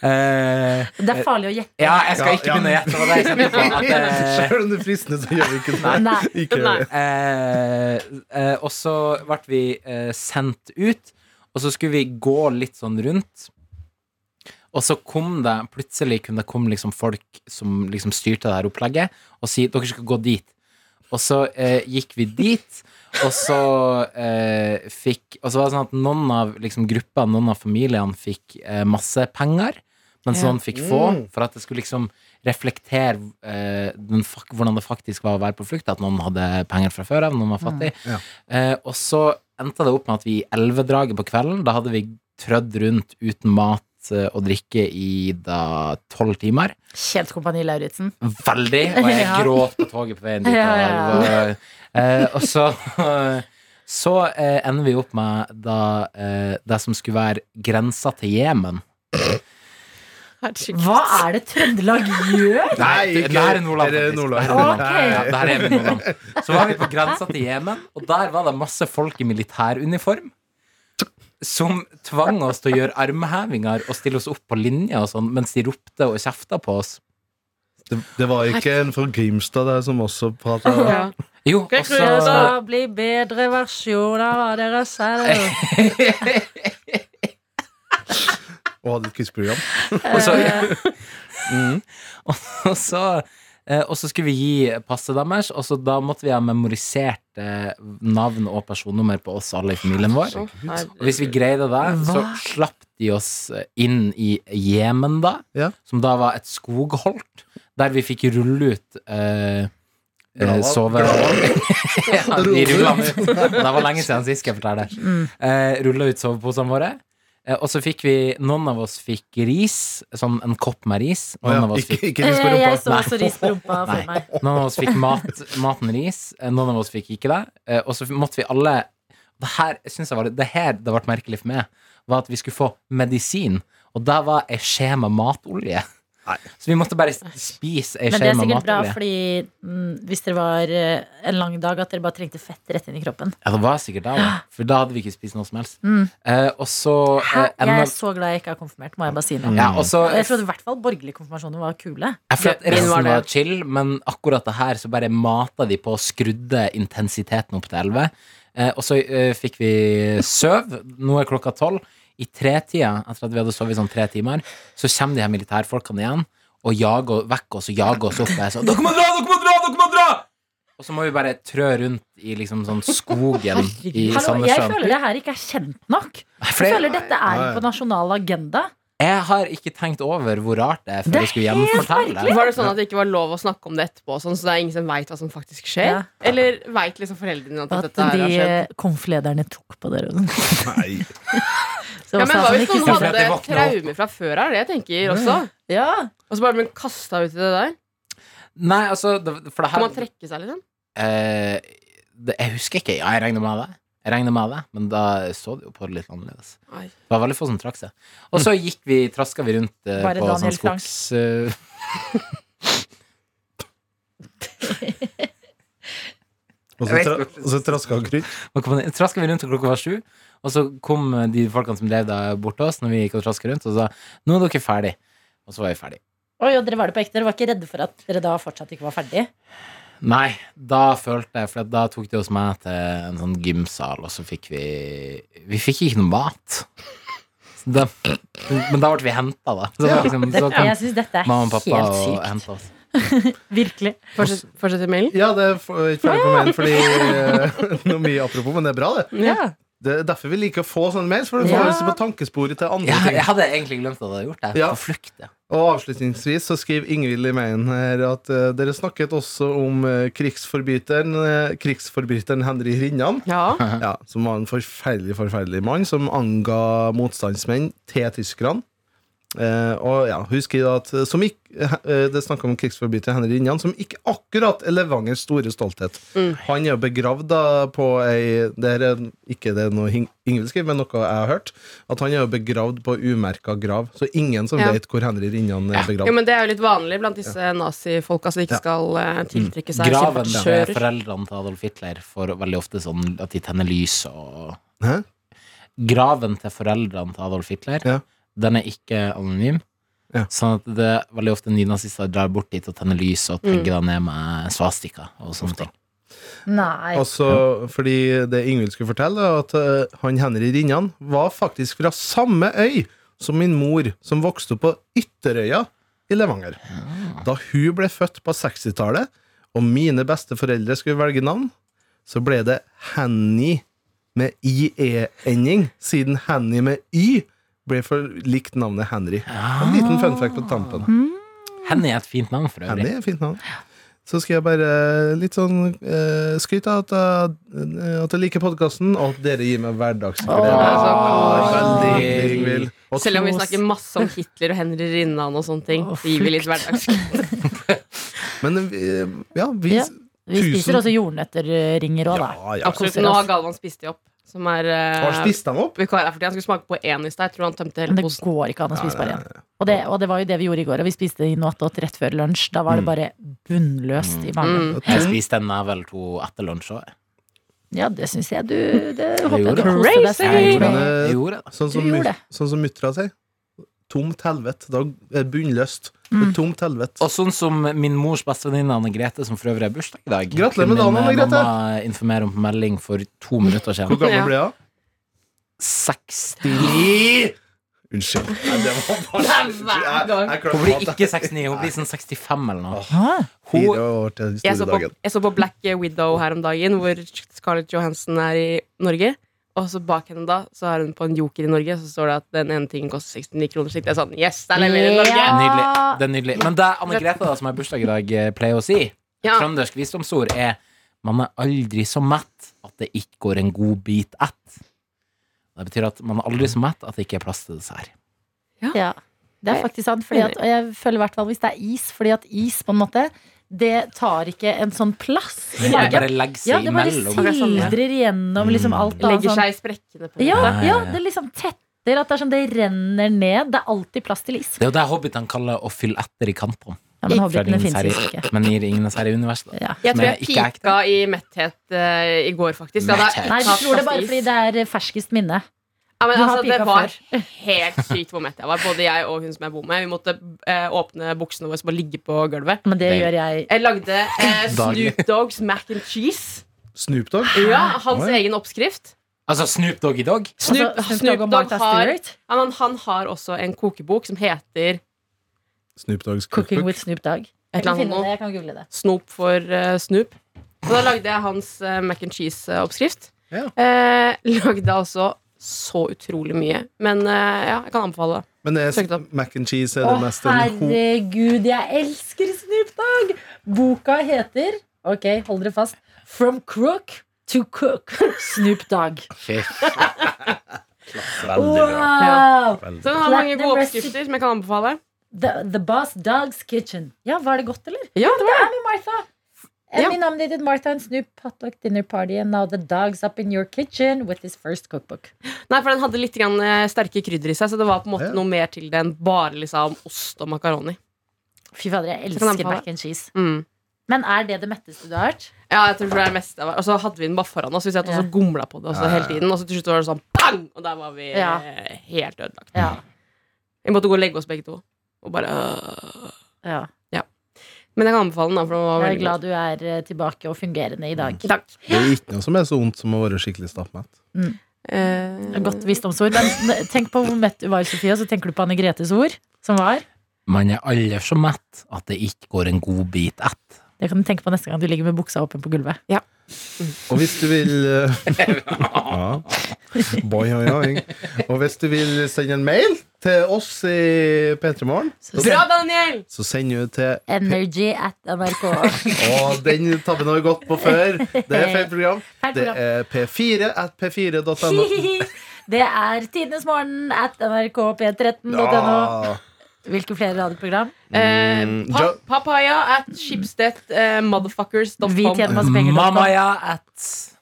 D: Eh,
B: Det er farlig å gjette.
D: ja, jeg skal
E: Ja,
D: ikke
E: ja.
D: begynne å gjette hva det er jeg kjente på. At, eh,
E: Selv om det er fristende, så gjør vi ikke det.
B: Nei.
E: Ikke gjør vi det.
D: eh, eh, og så ble vi eh, sendt ut, og så skulle vi gå litt sånn rundt. Og så kom det plutselig kunne det komme liksom folk som liksom styrte det her opplegget, og si dere skal gå dit. Og så eh, gikk vi dit, og så eh, fikk Og så var det sånn at noen av liksom, gruppa, noen av familiene, fikk eh, masse penger, mens
B: Ja.
D: noen fikk få,
E: Mm.
D: for at det skulle liksom reflektere eh, den, fak- hvordan det faktisk var å være på flukt. At noen hadde penger fra før av, noen var fattig.
E: Mm. Ja.
D: Eh, og så endte det opp med at vi i elvedraget på kvelden, da hadde vi trødd rundt uten mat eh, og drikke i da tolv timer.
B: Kjent Kompani Lauritzen.
D: Veldig. Og jeg
B: Ja.
D: gråt på toget på veien dit.
B: Ja, ja, ja.
D: og jeg var- Eh, og så Så eh, ender vi opp med da, eh, det som skulle være grensa til Jemen.
C: Herregud.
B: Hva er det Trøndelag gjør?
E: Nei,
D: det,
E: ikke-
D: det her er Nordland.
E: det er
D: faktisk.
E: Nordland.
D: Det her er Nordland.
B: Ok.
D: Ja, det her er vi i Nordland. Så var vi på grensa til Jemen, og der var det masse folk i militæruniform. Som tvang oss til å gjøre armhevinger og stille oss opp på linja og sånn, mens de ropte og kjefta på oss.
E: Det, det var ikke en fra Grimstad der som også prata
C: Ja.
D: Jo, og så
B: Trøndelag blir bedre versjoner av dere selv.
E: og hadde et quizprogram.
D: Og så, Mm. og så, eh, og så skulle vi gi passet deres, og så da måtte vi ha memorisert eh, navn og personnummer på oss alle i familien vår.
C: Å, herregud.
D: Og hvis vi greide det, så
B: Hva?
D: slapp de oss eh, inn i Jemen, da.
E: Ja.
D: Som da var et skogholt, der vi fikk rulle ut eh, eh,
E: Grava.
D: sove... ja, de rulla ut. Det var lenge siden sist, skal jeg fortelle. Mm. Eh, rulla ut soveposene våre. eh, Eh, Og så fikk vi Noen av oss fikk ris, sånn en kopp med ris.
E: Å,
D: Noen,
E: ja.
D: av, oss fikk,
E: Ikke, ikke rist på
B: Eh, Jeg
E: rumpa.
B: så også ris på rumpa
D: Nei.
B: for meg.
D: noen av oss fikk mat, maten ris, eh, noen av oss fikk ikke det. Eh, Og så måtte vi alle Det her synes jeg var, det her det ble merkelig for meg, var at vi skulle få medisin. Og det var ei skje med matolje.
E: Nei.
D: Så vi måtte bare spise ei
B: Men det
D: skje
B: er
D: med
B: sikkert bra,
D: matolje.
B: fordi mm, hvis dere var eh, en lang dag, at dere bare trengte fett rett inn i kroppen.
D: Ja, det var sikkert det, også, for da hadde vi ikke spist noe som helst.
B: Mm.
D: Eh, og så
B: Hæ?
D: eh,
B: Jeg
D: enda-
B: er så glad jeg ikke er konfirmert, må jeg bare si nå.
D: ja, og så
B: Og Jeg trodde i hvert fall borgerlige konfirmasjoner var kule.
D: Jeg føler at
C: Min
D: resten
C: var
D: var,
C: det.
D: chill, men akkurat det her så bare mata de på og skrudde intensiteten opp til 11. Eh, og så eh, fikk vi søv. Nå er klokka tolv. I tretida, etter at vi hadde sovet i sånn tre timer, så kommer de her militærfolkene igjen og jager vekk oss og jager oss opp. Og jeg sa 'Dere må dra! Dere må dra! Dere må dra!' Og så må vi bare trø rundt i liksom sånn skogen i
C: Herregud.
B: Hallo, jeg
D: Sandnessjøen.
B: føler det her ikke er kjent nok. Jeg
D: For jeg,
B: føler dette er
E: Nei.
B: på nasjonal agenda.
D: jeg har ikke tenkt over hvor rart det er
B: Det
D: før
B: er
D: jeg skulle gjenfortelle det.
C: Var det sånn at det ikke var lov å snakke om det etterpå, sånn, så det er ingen som veit hva som faktisk skjer?
B: Ja.
C: Eller veit liksom foreldrene at,
B: At
C: dette her
B: de
C: har
B: eh,
C: skjedd?
B: konflederne tok på dere. og sånn.
E: Nei.
B: Så det
C: Ja,
B: var
C: men
B: sånn
C: Hva
B: at de
C: hvis noen
B: ikke-
D: For at
C: hadde
D: det våkner
C: traumer fra før her? Det jeg tenker også.
B: Ja,
C: Og så bare blir man kasta ut i det der.
D: Nei, altså, det, for det
C: Kan man
D: her
C: trekke seg, liksom?
D: Eh, det, jeg husker ikke. Ja, jeg regner med det. Jeg regner med det, men da så det jo på det litt annerledes.
C: Nei.
D: Det var veldig få som trakk seg. Og så gikk vi, traska vi rundt eh,
B: Bare
D: på
B: Daniel
D: sånn skogs... eh,
E: Og så, tra og så traska han krydd.
D: og kom ned- traska vi rundt og klokka var sju, og så kom eh, de folkene som drev der bort til oss når vi gikk og traska rundt, og sa 'Nå er dere ferdig'. Og så var vi ferdig.
B: Oi, og dere var det på ekte? Dere var ikke redde for at dere da fortsatt ikke var ferdig?
D: Nei, da følte jeg For da tok de oss med til en sånn gymsal, og så fikk vi Vi fikk ikke noe mat. Så Da, men da ble vi henta, da. Så det var liksom, så kom
B: Jeg syns dette er
D: mamma og pappa
B: helt
D: og
B: sykt.
D: henta oss.
B: Virkelig.
C: Fortsett, fortsett i mailen.
E: Ja, det er f- ikke ferdig på mailen, fordi eh, Noe mye apropos, men det er bra, det.
B: Ja.
E: Det er derfor vi liker å få sånne mails, for du får
B: Ja.
E: lyst på tankesporet til andre
D: Ja,
E: ting.
D: jeg hadde egentlig glemt at jeg hadde gjort det.
E: Ja.
D: På flukt, ja.
E: Og avslutningsvis så skriver Ingvild i mailen her at eh, dere snakket også om eh, krigsforbryteren, eh, krigsforbryteren Henry Rinnan,
C: Ja.
E: ja, som var en forferdelig, forferdelig mann som anga motstandsmenn til tyskerne. Eh, og ja, hun skriver at eh, som ikk- eh, Det er snakk om krigsforbryter Henry Rinnan, som ikke akkurat er Levangers store stolthet.
C: Mm.
E: Han er jo begravd da på ei Det her er ikke det er noe Hing- Ingvild skriver, men noe jeg har hørt. At han er jo begravd på umerka grav. Så ingen som
C: Ja.
E: vet hvor Henry Rinnan er
C: Jo,
E: begravd.
C: men Det er jo litt vanlig blant disse nazifolka som ikke
E: Ja.
C: skal eh, tiltrekke seg
D: Graven til
C: kjører.
D: foreldrene til Adolf Hitler får veldig ofte sånn at de tenner lys og
E: Hæ?
D: Graven til foreldrene til Adolf Hitler,
E: Ja.
D: den er ikke anonym.
E: Ja.
D: Sånn at det er veldig ofte nynazister drar bort dit og tenner lys og pegger det ned med svastika og sånne ting.
B: Nei.
E: Altså, fordi det Ingvild skulle fortelle, er at eh, han Henry Rinnan var faktisk fra samme øy som min mor, som vokste opp på Ytterøya i Levanger. Da hun ble født på 60-tallet, og mine besteforeldre skulle velge navn, så ble det Henny med IE-ending, siden Henny med Y ble for likt navnet Henry. En liten fun fact på tampen.
D: Henny er et fint navn, for øvrig.
E: Henny er fint navn. Så skal jeg bare eh, litt sånn eh, skryte av at, jeg- eh, at jeg liker podkasten, og at dere gir meg
C: Det
E: hverdagsglede.
C: er så
E: Veldig
C: koselig.
E: hyggelig, Ingvild. Og
C: Selv om vi
B: kos.
C: snakker masse om Hitler og Henry Rinnan og sånne ting,
B: Og
C: så gir vi litt
B: flukt.
C: hverdags...
E: Men eh, ja, vi
B: Ja. Vi
E: tusen-
B: spiser også jordnøtterringer òg, da.
E: Ja, ja.
C: Absolutt.
B: koser
C: Nå
B: oss.
C: har Galvan spist de opp. Som er eh,
E: Har spist dem opp?
C: vikar her for tiden. Han skulle smake på én i stad. Jeg tror han tømte hele
B: Men det
C: posen.
B: går ikke an å spise bare én. Og det, og det var jo det vi gjorde i går. Og vi spiste i Noatot rett før lunsj. Da
D: Mm.
B: var det bare bunnløst i magen.
C: Mm.
D: Jeg spiste en nevel to etter lunsj òg.
B: Ja, det syns jeg du Det håper jeg du
D: gjorde det.
B: koste deg
D: Jeg
B: selv
D: gjorde det.
B: med.
D: Jeg gjorde det.
E: Sånn som,
B: Du gjorde
E: mut-
B: det.
E: sånn som muttra sier. Tomt helvete. Da er det bunnløst. Det er Tomt helvete.
D: Og sånn som min mors bestevenninne Anne Grete, som for øvrig er bursdag i dag
E: Gratulerer med
D: kunne eh,
E: dagen, Anne Grete.
D: Mamma informerer om på melding for to minutter
E: Hvor
D: siden.
E: gammel
C: Ja.
E: ble hun?
D: 69
E: Unnskyld. Nei, det var bare
C: Det er hver
E: Jeg-
C: gang.
E: jeg
D: Hun
E: klarte
D: blir
E: at-
D: ikke 69, hun blir sånn 65 eller noe.
B: Hæ?
D: Hun,
E: Fire år til den
C: Jeg så,
E: store
C: på,
E: dagen.
C: jeg så på Black Widow her om dagen, hvor Scarlett Johansen er i Norge. Og så bak henne da, så er hun på en joker i Norge, så står det at den ene tingen koster 69 kroner. Så jeg er sånn, yes, det er leilig i Norge!
B: Ja.
D: nydelig. Det er nydelig. Men det Anne Grete, da, som har bursdag i dag, eh, pleier å si,
C: Ja.
D: trøndersk visdomsord, er man er aldri så mett at det ikke går en god bit ett. Det Det betyr at man er aldri så mett at det ikke er plass til dessert.
B: Ja, det er faktisk sant. Fordi at, og jeg føler i hvert fall hvis det er is, fordi at is på en måte det tar ikke en sånn plass i
D: Det
B: magen.
D: bare legger seg
B: Ja, det bare
D: imellom. Mm.
C: Det er sånn, ja.
B: sildrer gjennom liksom alt. av
C: Legger
B: sånn-
C: seg i sprekkene på en
B: Ja,
C: måte.
D: Ja, ja,
B: ja,
D: ja.
B: det liksom tetter. At det er sånn det renner ned. Det er alltid plass til is.
D: Det er jo det hobbitene kaller å fylle etter i kantene.
B: Ja, men
D: Fra
B: hobbitene
D: Ringenes
B: finnes
D: herre-
B: jo ikke.
D: Men i Ringenes herre-universet, da.
B: Ja.
C: Jeg tror
D: Men
C: jeg
D: ikke
C: pika i metthet eh, i går, faktisk. Jeg hadde
D: Metthet.
B: Nei, du
C: tatt
B: tror det
C: fast
B: bare
C: is.
B: fordi det er eh, ferskest minne.
C: Ja, men
B: Du har
C: altså,
B: pika
C: det var helt sykt hvor mett jeg var. Både jeg og hun som jeg bor med. Vi måtte eh, åpne buksene våre og bare ligge på gulvet.
B: Men det
D: Det-
B: gjør jeg.
C: Jeg lagde eh,
D: Daglig.
C: Snoop Dogs mac and cheese.
E: Snoop Dogg?
C: Ja, Hans
E: Oi.
C: egen oppskrift.
D: Altså Snoop Doggy Dogg?
C: Snoop,
B: Altså,
C: Snoop
B: og
C: Dogg
B: Martha
C: har,
B: Stewart.
C: ja, men han har også en kokebok som heter
E: Snoop Doggs
B: Cooking
E: cookbook.
B: with Snoop Dogg. Jeg
C: et eller
B: kan,
C: annet
B: finne
C: nå.
B: det, jeg kan google det.
C: Snop for eh, Snoop. Og da lagde jeg hans eh, mac and cheese-oppskrift.
E: Ja.
C: Eh, lagde altså så utrolig mye. Men eh, ja, jeg kan anbefale det.
E: Men det
C: Søkte
E: er
C: opp.
E: mac and cheese er
B: Å,
E: det mest en ho-
B: herregud, jeg elsker Snoop Dogg! Boka heter Ok, hold dere fast. From crook to cook. Snoop Dogg.
D: Fy
B: Wow!
C: Så den har
B: Clap
C: mange
B: the
C: gode
B: recipe.
C: oppskrifter som jeg kan anbefale.
B: The, the Boss Dog's Kitchen. Ja, Var det godt, eller?
C: Ja, det var det.
B: I'm in Martha.
C: Ja.
B: Emmy nominated Martha and Snoop potluck dinner party, and now the dog's up in your kitchen with his first cookbook.
C: Nei, for den hadde litt grann, eh, sterke krydder i seg, så det var på en måte
E: Ja.
C: noe mer til det enn bare liksom ost og makaroni.
B: Fy fader, jeg
C: kan
B: elsker
C: anbefale.
B: mac and cheese.
C: Mm.
B: Men er det det metteste du har hørt?
C: Ja, jeg tror det er det meste jeg var. Og så hadde vi den bare foran oss. Vi satt også
B: Ja.
C: gomla på det også, hele tiden. Og så til slutt var det sånn bang! Og der var vi
B: Ja.
C: eh, helt ødelagt.
B: Ja.
C: Vi måtte gå og legge oss begge to. Og bare øh.
B: ja.
C: Men jeg kan anbefale den, da, for den var
B: Jeg er
C: veldig
B: glad du er eh, tilbake og fungerende i dag.
C: god. Takk.
E: Det er ikke noe som er så vondt som å være skikkelig stappmett.
C: Eh,
B: Godt visdomsord. Men tenk på hvor mett du var, Sofie, og så tenker du på Anne Gretes ord, som var.
D: Man er aldri så mett at det ikke går en god bit ett.
B: Det kan du tenke på neste gang du ligger med buksa åpen på gulvet.
E: Og hvis du vil eh, ja. Boy, oi, oi. Og hvis du vil sende en mail til oss i P3 Morgen,
B: Så
C: Bra, Daniel!
E: så send du til
B: Energy at NRK.
E: Å, den tabben har vi gått på før. Det er feil program.
B: Feil
E: Det
B: program.
E: er p4 at p4.no.
B: Det er Tidenes morgen at nrkp13.no.
E: Ja.
B: Hvilke flere radioprogram?
C: Eh,
E: Mm,
C: pa
E: Ja.
C: papaya at shipstedt eh, motherfuckers.com.
B: Vi tjener masse penger.
D: Mamaya at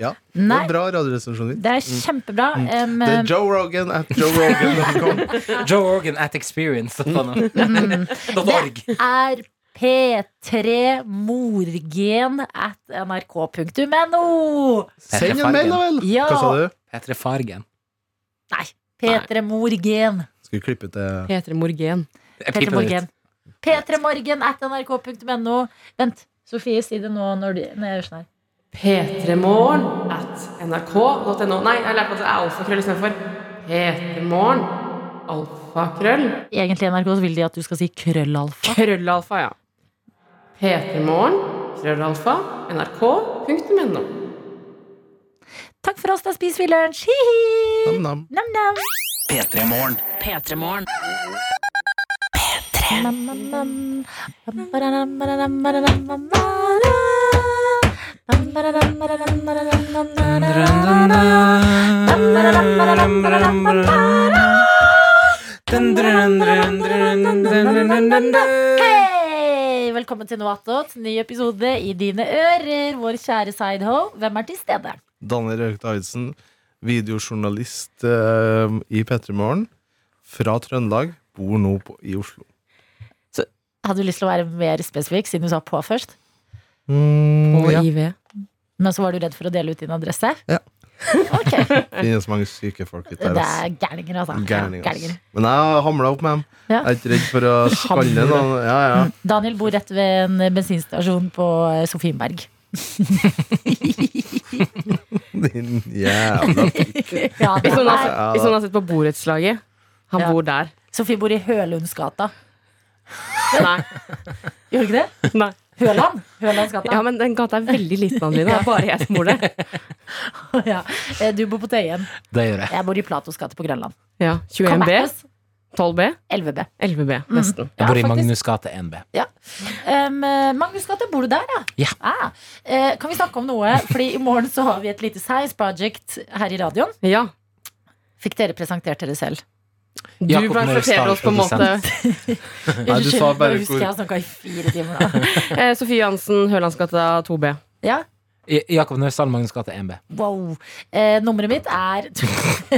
E: ja. Det
B: Nei,
E: er bra radioresepsjon din.
B: det er kjempebra. em,
E: Det er Joe Rogan at joerogan.com.
D: Joe Organ at experience.
B: Mm.
D: Org.
B: er P3 morgen at nrk.no.
E: Send en mail, da vel.
B: Ja.
E: Hva sa du?
D: Heter det Fargen?
B: Nei, P3 morgen.
E: Skal vi klippe til
C: P3 Morgen.
B: P3
D: Jeg piper det ut.
B: morgen. P3 morgen at nrk.no. Vent, Sofie, si det nå når, du, når jeg gjør sånn her.
C: P3morgen at nrk.no. Nei, jeg lærte at det er alfakrøll istedenfor. P3morgen. Alfakrøll.
B: Egentlig i NRK så vil de at du skal si krøllalfa.
C: Krøllalfa, ja. P3morgen. Krøllalfa. nrk.no.
B: Takk for oss, da spiser vi lunsj. Hi-hi!
E: Nam-nam?
B: Nam-nam.
A: P3-morgen.
B: Hei! Velkommen til Noatot, ny episode i dine ører. Vår kjære Sideho, hvem er til stede?
E: Danne Røyk Davidsen, videojournalist eh, i P3 Morgen, fra Trøndelag, bor nå på, i Oslo.
B: Hadde du lyst til å være mer spesifikk, siden du sa på først?
E: Mm, ja.
C: IV.
B: Men så var du redd for å dele ut din adresse?
E: Ja.
B: Ok,
E: Finnes mange syke folk ute der.
B: Det
E: ass.
B: er gærninger, altså.
E: Gærning, ass.
B: Gærninger.
E: Men jeg har hamla opp med dem.
B: Ja.
E: Jeg er ikke redd for å skalle noen. Ja, ja.
B: Daniel bor rett ved en bensinstasjon på eh, Sofienberg.
E: Din jævla
B: Ja,
C: Hvis noen har
B: nei,
C: sett, hvis noen har sett på Borettslaget Han
B: Ja.
C: bor der.
B: Sofie bor i Hølundsgata.
C: Nei.
B: Gjør du ikke det?
C: Nei.
B: Høland? Hølandsgata.
C: Ja, men den gata er veldig liten, Adeline. Det er bare jeg som bor der.
B: Ja. Eh, Du bor på Tøyen.
D: Det gjør jeg.
B: Jeg bor i Platos gate på Grønland.
C: Ja, Mm.
B: Kom
C: 21B,
B: at us.
C: 12B,
B: 11B.
C: 11B, nesten.
D: Jeg bor
B: Ja,
D: i
B: faktisk.
D: Magnus gate 1B.
B: Um, eh, Magnus gate, bor du der, ja?
D: Ja.
B: Ah. Eh, kan vi snakke om noe? Fordi i morgen så har vi et lite science project her i radioen.
C: Ja.
B: Fikk dere presentert dere selv?
C: Du
D: Jakob Nørsdal,
C: presenterer oss på en måte.
E: Nei, du sa
B: Nå
E: bare
B: husker jeg
E: hvor
B: jeg snakka i fire timer nå.
C: Eh, Sofie Jansen, Hølandsgata 2B.
B: Ja,
D: Ja- Jakob Nørsdal, Magnus gate 1B.
B: wow. Eh, nummeret mitt er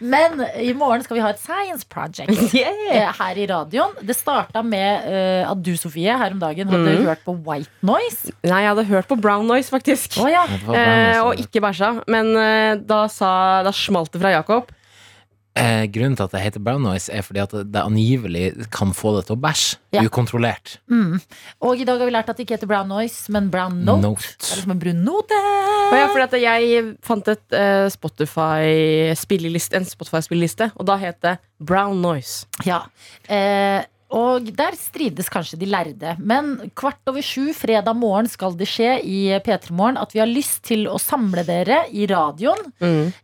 B: Men i morgen skal vi ha et science project. eh, her i radioen. Det starta med eh, at du, Sofie, her om dagen hadde
C: Mm.
B: hørt på White Noise.
C: Nei, jeg hadde hørt på Brown Noise, faktisk.
B: Å ja.
D: Det var bra,
C: Eh,
D: altså.
C: og ikke bæsja. Men eh, da, sa, da smalt det fra Jakob.
D: Eh, grunnen til at det heter brown noise, er fordi at det angivelig kan få det til å bæsje.
B: Ja.
D: Ukontrollert.
B: Mm. Og i dag har vi lært at det ikke heter brown noise, men brown note.
D: Note.
B: Det er liksom en brun note.
C: Og ja, fordi at jeg fant et eh, Spotify -spilleliste, en Spotify-spilleliste, og da het det Brown Noise.
B: Ja. Eh, og der strides kanskje de lærde. Men kvart over sju fredag morgen skal det skje i P3 Morgen at vi har lyst til å samle dere i radioen.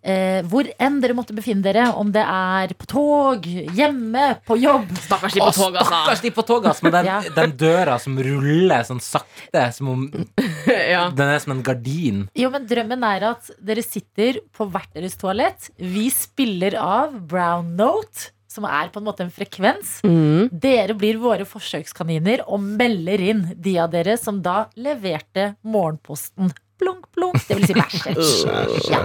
B: Eh, hvor enn dere måtte befinne dere, om det er på tog, hjemme, på jobb.
C: Stakkars de på toget, altså.
D: Stakkars de på toget, ass, med den,
B: Ja.
D: den døra som ruller sånn sakte, som om
C: ja.
D: den er som en gardin.
B: Jo, men drømmen er at dere sitter på hvert deres toalett. Vi spiller av brown note, som er på en måte en frekvens. Dere blir våre forsøkskaniner og melder inn de av dere som da leverte morgenposten. Blunk, blunk. Det vil si bæsj. Ja.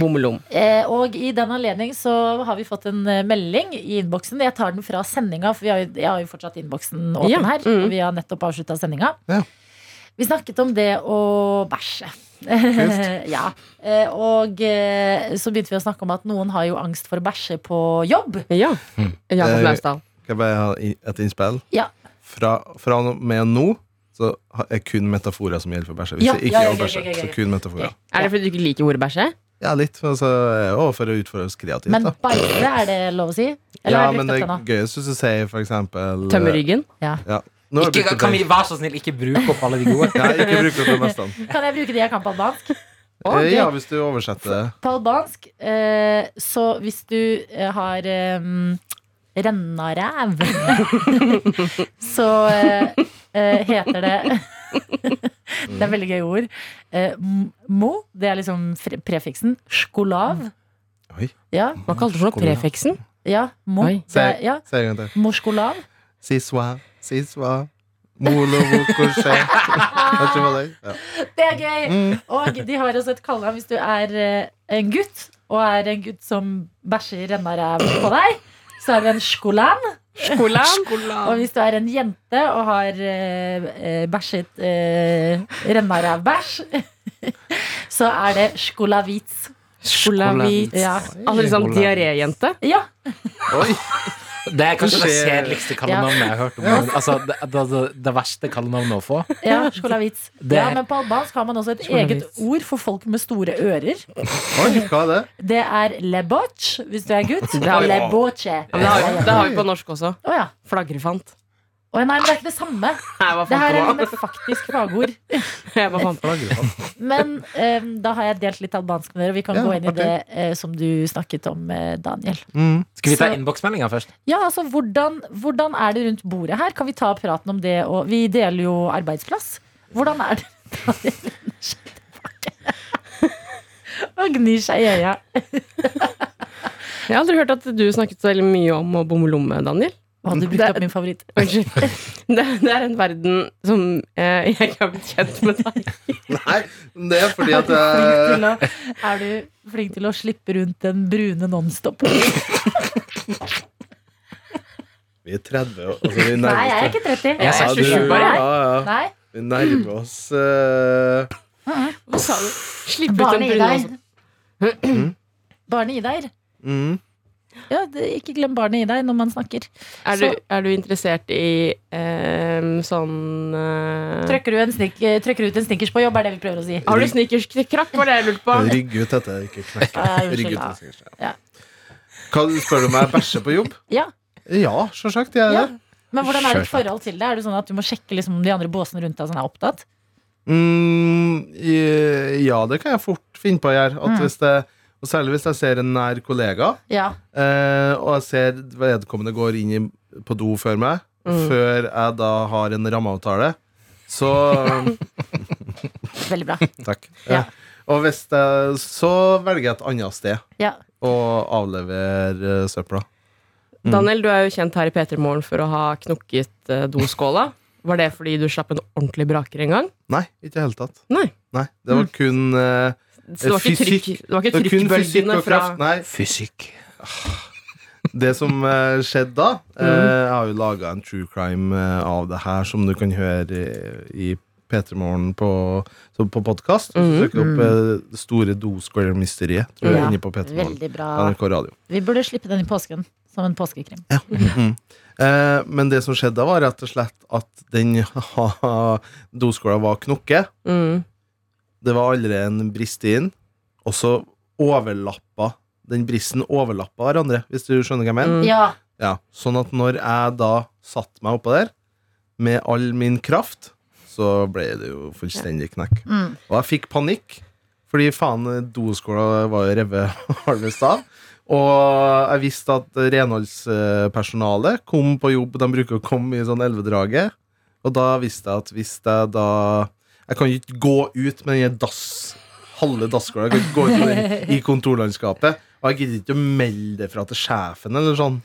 C: Bommelom.
B: Eh, og i den anledning så har vi fått en eh, melding i innboksen. Jeg tar den fra sendinga, for vi har, jo- jeg har jo fortsatt innboksen åpen
C: Ja,
B: her.
C: mm.
B: Og vi har nettopp avslutta sendinga.
E: Ja.
B: Vi snakket om det å bæsje. ja. Eh, og eh, så begynte vi å snakke om at noen har jo angst for å bæsje på jobb.
C: Ja. Jakob
E: Eh,
C: Laustdal.
E: Skal jeg bare ha i- et innspill?
B: Ja.
E: Fra, fra og med nå så ha- er kun metaforer som gjelder for bæsje. Hvis
B: Ja,
E: det ikke
B: ja, ja,
E: er å
B: ja,
E: bæsje,
B: ja, ja, ja.
E: så kun metaforer.
C: Er det fordi du ikke liker ordet bæsje?
E: Ja, litt. Men så, og for å utfordre oss kreativt,
B: Men
E: da.
B: bæsje, er det lov å si? Eller
E: Ja,
B: er det
E: men
B: riktig
E: det
B: opptenna?
E: gøyeste hvis du sier for eksempel
C: Tømme ryggen?
E: Ja. Nå har du
D: Ikke,
E: brukt
D: kan vi
E: opp
D: være så snill ikke bruke opp alle de gode?
E: det. Nei, ikke bruk det på mestene.
B: Kan jeg bruke det jeg kan på albansk?
E: Eh,
B: gøy.
E: Ja, hvis du oversetter det.
B: På albansk, eh, så hvis du eh, har eh, renna ræv, så eh, eh, heter det Det er veldig gøy ord. Eh, m- mo, det er liksom fre- prefiksen. Skolav.
E: Oi.
B: Ja,
C: Hva kalte du det? Prefiksen?
B: ja, mo.
C: Oi.
B: Det er, ja,
E: Si det en gang til.
B: morskolav.
E: Siswa, siswa, molovo, korsé. Vet ikke hva det er. Ja.
B: Det er gøy! Og de har også et kallenavn hvis du er eh, en gutt, og er en gutt som bæsjer renna ræv på deg, så er du en skolan. Og hvis du er en jente og har eh, eh, bæsjet eh, renna ræv-bæsj, så er det skolavits.
C: Skolavit.
B: Ja.
C: Altså liksom diaréjente?
B: ja.
E: Oi.
D: Det er kanskje det
E: Skje-
D: kjedeligste kallenavnet jeg har hørt om. Altså, det, det, det, det verste kallenavnet å få.
B: Ja, skolavits.
D: Det-
B: Ja, men på albansk har man også et eget
C: Skolavits.
B: ord for folk med store ører.
E: Oi, hva er det?
B: Det er leboch, hvis du er gutt.
C: Det har
B: Og
C: vi-
B: leboche.
C: Ja, men det, har vi, det har vi på norsk også.
B: Å ja.
C: Flagrefant.
B: Å, nei, men det er ikke det samme.
C: Nei, hva
B: Det her er
C: faen
B: liksom et faktisk fagord.
C: Jeg bare fant på
B: Men em, da har jeg delt litt albansk med dere, og vi kan
E: Ja,
B: gå inn i
E: artig.
B: det eh, som du snakket om, eh, Daniel.
E: Mm.
D: Skal vi ta
B: Så-
D: innboksmeldinga først?
B: Ja, altså, hvordan, hvordan er det rundt bordet her? Kan vi ta praten om det? Og vi deler jo arbeidsplass. Hvordan er det? Daniel lener seg tilbake. Og gnir seg i øya.
C: Jeg har aldri hørt at du snakket så veldig mye om å bomme lomme, Daniel.
B: Å, du brukte opp min favoritt.
C: Unnskyld. Det, det er en verden som eh, jeg ikke har blitt kjent med deg.
E: Nei, men det er fordi at
B: Flink
E: eh,
B: til
E: jeg,
B: å, er du flink til å slippe rundt den brune Nonstop?
E: Vi er 30, og- altså vi
B: Nei, jeg er
E: nærmer oss
B: ikke 30.
C: Jeg er
E: Ja, du-
C: 27 år, jeg.
E: ja, ja.
B: Nei,
E: Vi nærmer oss eh,
C: Hva sa du? Slipp ut den
B: barnet i
C: brune
B: deg.
C: også.
B: Barnet i deg.
E: mm.
B: Ja, det, ikke glem barnet i deg når man snakker.
C: Er du, er du interessert i eh, sånn eh,
B: Trykker du, en snik, eh, trykker ut en snickers på jobb, er det vi prøver å si.
C: Har du snickerskrakk, var det jeg lurte på?
E: Rygg ut dette, ikke knekk.
B: Ja, unnskyld,
E: Rygg ut.
B: ja.
E: det sikkert,
B: Ja.
E: ja. Hva, spør du om jeg bæsjer på jobb?
B: Ja.
E: Ja, selvsagt. Jeg er
B: Ja.
E: det.
B: Men hvordan er ditt
E: Skjørt.
B: forhold til det? Er det sånn at du må sjekke liksom, om de andre båsene rundt deg som er opptatt?
E: Mm, eh, ja, det kan jeg fort finne på å gjøre. At
B: Mm.
E: hvis det, og særlig hvis jeg ser en nær kollega,
B: Ja.
E: eh, og jeg ser vedkommende går inn i, på do før meg,
C: Mm.
E: før jeg da har en rammeavtale, så
B: Veldig bra.
E: Takk.
B: Ja.
E: Eh, Og hvis det, så velger jeg et annet sted
B: Ja.
E: å avlevere eh, søpla. Mm.
C: Daniel, du er jo kjent her i P3 Morgen for å ha knukket eh, doskåla. Var det fordi du slapp en ordentlig braker en gang?
E: Nei, ikke i det hele tatt.
C: Nei.
E: Nei, det var kun eh,
C: Så det var ikke,
E: Fysikk.
C: trykk, det var
E: det
C: ikke
E: var kun fysikk
C: trykkbølgene
E: og
C: fra
E: kraft. Nei, Ah.
D: Fysikk.
E: det som eh, skjedde da eh,
C: Mm.
E: Jeg har jo laga en true crime eh, av det her, som du kan høre eh, i, i P3 Morgen på, så på podkast.
C: Mhm.
E: Søker opp eh, Det store doskålermysteriet, tror jeg,
B: Ja.
E: inne på P3 Morgen.
B: Veldig bra.
E: NRK Radio.
B: Vi burde slippe den i påsken, som en påskekrim.
E: Mhm. Eh, men det som skjedde da, var rett og slett at den doskåla var knokke.
C: mm.
E: Det var allerede en brist inn, og så overlappa den bristen overlappa hverandre, hvis du skjønner hva jeg mener.
C: Mm.
B: Ja.
E: Ja, sånn at når jeg da satt meg oppå der med all min kraft, så ble det jo fullstendig knekk.
B: Mm.
E: Og jeg fikk panikk, fordi faen, doskåla var jo revet halvveis av. Og jeg visste at renholdspersonalet kom på jobb, de bruker å komme i sånn elvedraget. Og da visste jeg at hvis jeg da Jeg kan jo ikke gå ut med den dass, halve dasskåla. Jeg kan ikke gå ut med den i kontorlandskapet. Og jeg gidder ikke å melde det fra til sjefen eller sånn.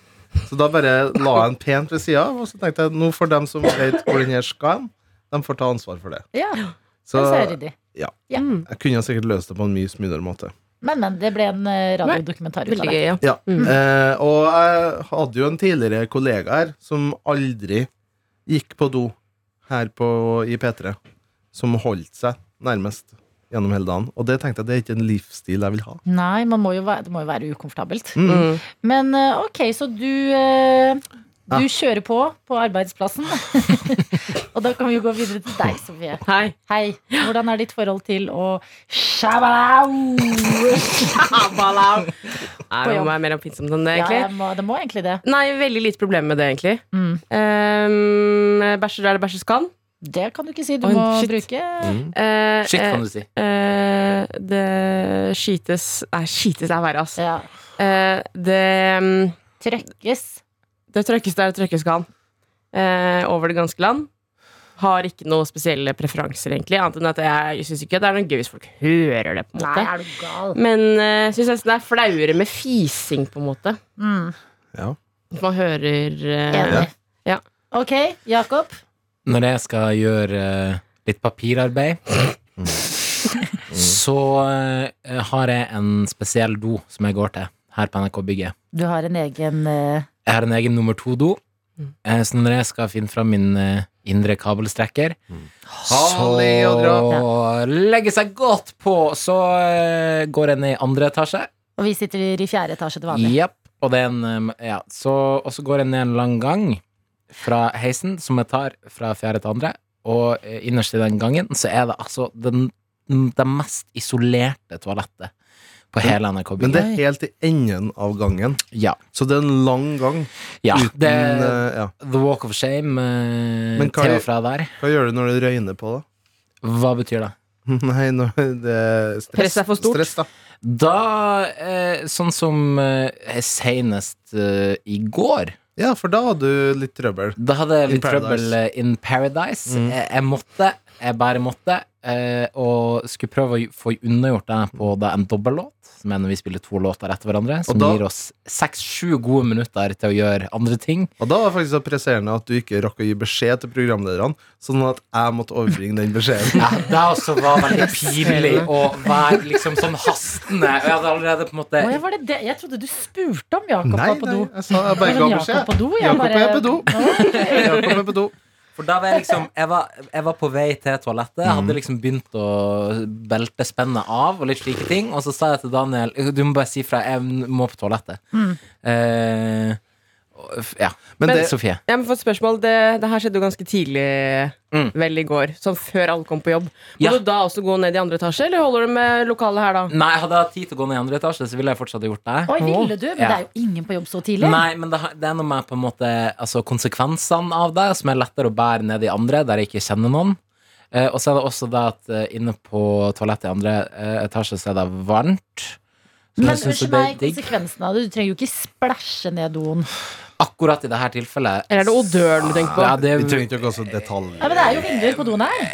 E: Så da bare la jeg den pent ved sida av, og så tenkte jeg nå får dem som vet hvor den her skal hen, de får ta ansvar for det.
B: ja.
E: Så
B: Men så er det de.
C: Mm.
E: jeg kunne sikkert løst det på en mye smidigere måte.
B: Men, men. Det ble en eh, radiodokumentar ut
C: Veldig
B: av
C: gøy,
B: det.
C: ja.
E: Ja.
C: Mm.
E: Eh, og jeg hadde jo en tidligere kollega her som aldri gikk på do her på, i P3. Som holdt seg nærmest gjennom hele dagen. Og det tenkte jeg det er ikke en livsstil jeg vil ha.
B: Nei, man må jo være, det må jo være ukomfortabelt.
E: Mm.
C: Mm.
B: Men eh, ok, så du eh, Du
E: Ja.
B: kjører på på arbeidsplassen. Og da kan vi jo gå videre til deg, Sofie.
C: Hei.
B: Hei. Hvordan er ditt forhold til å Shabau!
C: Abalau. Nei, det
B: jobb.
C: må være mer oppfinnsomt enn det,
B: Ja,
C: egentlig.
B: det må, det må egentlig det.
C: Nei, veldig lite problem med det, egentlig.
B: Mm.
C: Um, bæsjer der det bæsjes kan.
B: Det kan du ikke si. Du
C: Oi,
B: må
C: shit.
B: bruke
C: Eh,
D: Shit,
C: eh,
D: kan du si.
C: eh, det skites Nei, skites er verre, ass.
B: ja,
C: Eh, det, mm,
B: trøkkes.
C: det trøkkes der det trøkkes kan. Eh, over det ganske land. Har ikke noen spesielle preferanser, egentlig. Annet enn at jeg syns ikke det er noe gøy hvis folk hører det. på en
B: Nei,
C: måte
B: er du gal?
C: Men uh, syns nesten det er flauere med fising, på en måte.
B: Mm.
C: At man hører eh,
B: Enig.
C: Ja.
B: Ok, Jakob.
D: Når jeg skal gjøre eh, litt papirarbeid, så eh, har jeg en spesiell do som jeg går til her på NRK-bygget.
B: Du har en egen eh,
D: Jeg har en egen nummer to-do, eh, så når jeg skal finne fram min eh, indre kabelstrekker,
E: Herlig å dra.
D: så legger seg godt på, så eh, går jeg ned i andre etasje.
B: Og vi sitter i fjerde etasje til vanlig.
D: Jepp. Og, det er en, um, ja. så, og så går jeg ned en lang gang fra heisen, som jeg tar fra fjerde til andre. Og eh, innerst i den gangen så er det altså den, det mest isolerte toalettet på hele
E: Men det
D: NRK-byen.
E: er helt i enden av gangen.
D: Ja.
E: Så det er en lang gang
D: ja
E: uten
D: det,
E: eh, ja.
D: the walk of shame eh,
E: Men hva
D: til
E: er-
D: og fra der.
E: Hva gjør du når det røyner på, da?
D: Hva betyr det?
E: Nei, når det er stress.
C: Presset er for stort.
E: Stress, da.
D: Da eh, Sånn som eh, senest eh, i går
E: Ja, for da har du litt trøbbel.
D: Da hadde jeg
E: In
D: litt trøbbel eh, in paradise. Jeg, jeg måtte, jeg bare måtte, eh, og skulle prøve å gj- få unnagjort det på da en dobbellåt, som er når vi spiller to låter etter hverandre, som
E: da-
D: gir oss seks-sju gode minutter til å gjøre andre ting.
E: Og da var det faktisk så presserende at du ikke rakk å gi beskjed til programlederne, sånn at jeg måtte overbringe den beskjeden.
D: Ja, det også var veldig pinlig å være liksom sånn hastende. Og jeg hadde allerede på en måte
B: Å, ja, var det det? Jeg trodde du spurte om Jakob
E: Eh, Nei,
B: var på
E: nei,
B: do.
E: jeg sa jeg bare ga
B: Men Jakob
E: beskjed.
B: på do? jeg
E: Jakob
B: bare-
E: er på do.
B: Å,
E: Jakob er på do.
D: For da var jeg liksom Jeg var, jeg var på vei til toalettet, hadde liksom begynt å belte spennet av og litt slike ting, og så sa jeg til Daniel Du må bare si fra, jeg må på toalettet.
B: Mm.
D: Eh, og f- ja.
E: Men
D: Men
E: det-
D: Sofie.
C: Jeg må få et spørsmål. Det, det her skjedde jo ganske tidlig
D: Mm.
C: vel i går. Sånn før alle kom på jobb. Må
D: Ja.
C: du da også gå ned i andre etasje, eller holder du med lokalet her da?
D: Nei, hadde jeg hatt tid til å gå ned i andre etasje, så ville jeg fortsatt ha gjort det.
B: Oi, ville du? Men
D: Ja.
B: det er jo ingen på jobb så tidlig.
D: Nei, men det, har- det er noe med på en måte altså, konsekvensene av det, som er lettere å bære ned i andre, der jeg ikke kjenner noen. Eh, og så er det også det at eh, inne på toalettet i andre eh, etasje, så er det varmt. Så
B: Men
D: jeg synes
B: unnskyld
D: det er
B: meg,
D: digg.
B: konsekvensen av det. Du trenger jo ikke splæsje ned doen.
D: akkurat i dette tilfellet
C: Eller er det odøren du tenker på?
D: Ja, det,
E: Vi trenger ikke å gå så detalj.
B: Ja, men det er jo vinduer på doen her.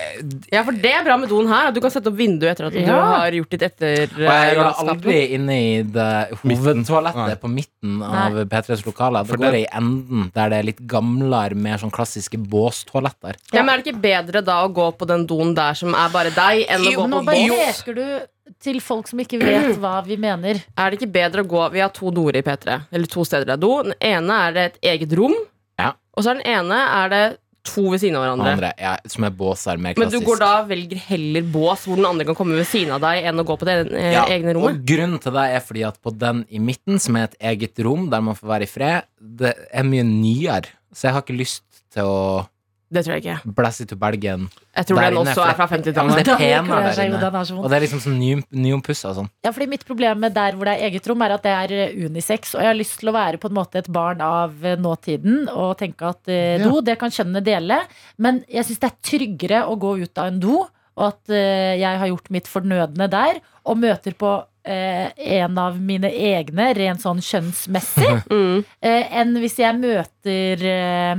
C: Ja, for det er bra med doen her. At du kan sette opp vinduet etter at du
B: Ja.
C: har gjort ditt etter... eh,
D: og jeg går aldri inne i det
E: Nei.
D: hovedtoalettet på midten av P3s lokaler. Det
E: For
D: går
E: det-
D: i enden, der det er litt gamlere, mer sånn klassiske båstoaletter.
C: Ja, men er det ikke bedre da å gå på den doen der som er bare deg, enn å
D: Jo,
C: gå
B: Men nå
C: på
B: bare
C: bås?
B: leker du til folk som ikke vet hva vi mener.
C: Er det ikke bedre å gå Vi har to doer i P3. Eller to steder det er do. Den ene er det et eget rom.
D: Ja.
C: Og så er den ene er det to ved siden av
D: Og
C: hverandre.
D: Andre, ja, som er båser, mer
C: Men du
D: klassisk.
C: går da velger heller bås hvor den andre kan komme ved siden av deg, enn å gå på det eh,
D: Ja,
C: egne
D: og
C: rommet.
D: grunnen til det er fordi at på den i midten, som er et eget rom der man får være i fred, det er mye nyere. Så jeg har ikke lyst til å
C: Det tror jeg ikke.
D: blæse til Belgien.
C: Jeg tror
D: Der
C: den
D: inne er
C: også er fra
D: Ja, men
C: 50-tallet.
D: det er penere
B: Klør
D: der
B: seg i hodet,
D: inne.
B: den er så vond.
D: Og det er liksom sånn ny- nyompussa og sånn.
B: Ja, fordi Mitt problem med der hvor det er eget rom, er at det er eh, unisex. Og jeg har lyst til å være på en måte et barn av eh, nåtiden og tenke at eh,
E: Ja.
B: do, det kan kjønnene dele. Men jeg syns det er tryggere å gå ut av en do, og at eh, jeg har gjort mitt fornødne der, og møter på eh, en av mine egne rent sånn kjønnsmessig,
C: Mm.
B: eh, enn hvis jeg møter eh,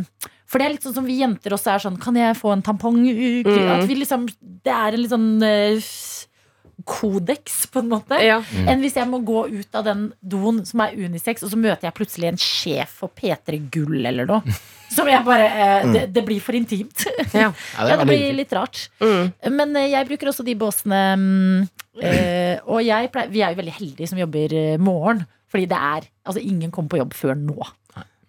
B: for det er litt sånn som vi jenter også er sånn Kan jeg få en tampong?
C: Mm.
B: At vi liksom Det er en litt sånn eh, kodeks, på en måte
C: Ja.
B: enn hvis jeg må gå ut av den doen som er unisex, og så møter jeg plutselig en sjef for P3 Gull eller noe. Som jeg bare eh, det, det blir for intimt.
C: Ja.
D: Ja, det
B: Ja,
D: er
B: det
D: veldig
B: blir litt rart.
C: Mm.
B: Men eh, jeg bruker også de båsene mm, eh, Og jeg pleier, vi er jo veldig heldige som jobber eh, morgen. Fordi det er Altså, ingen kommer på jobb før nå.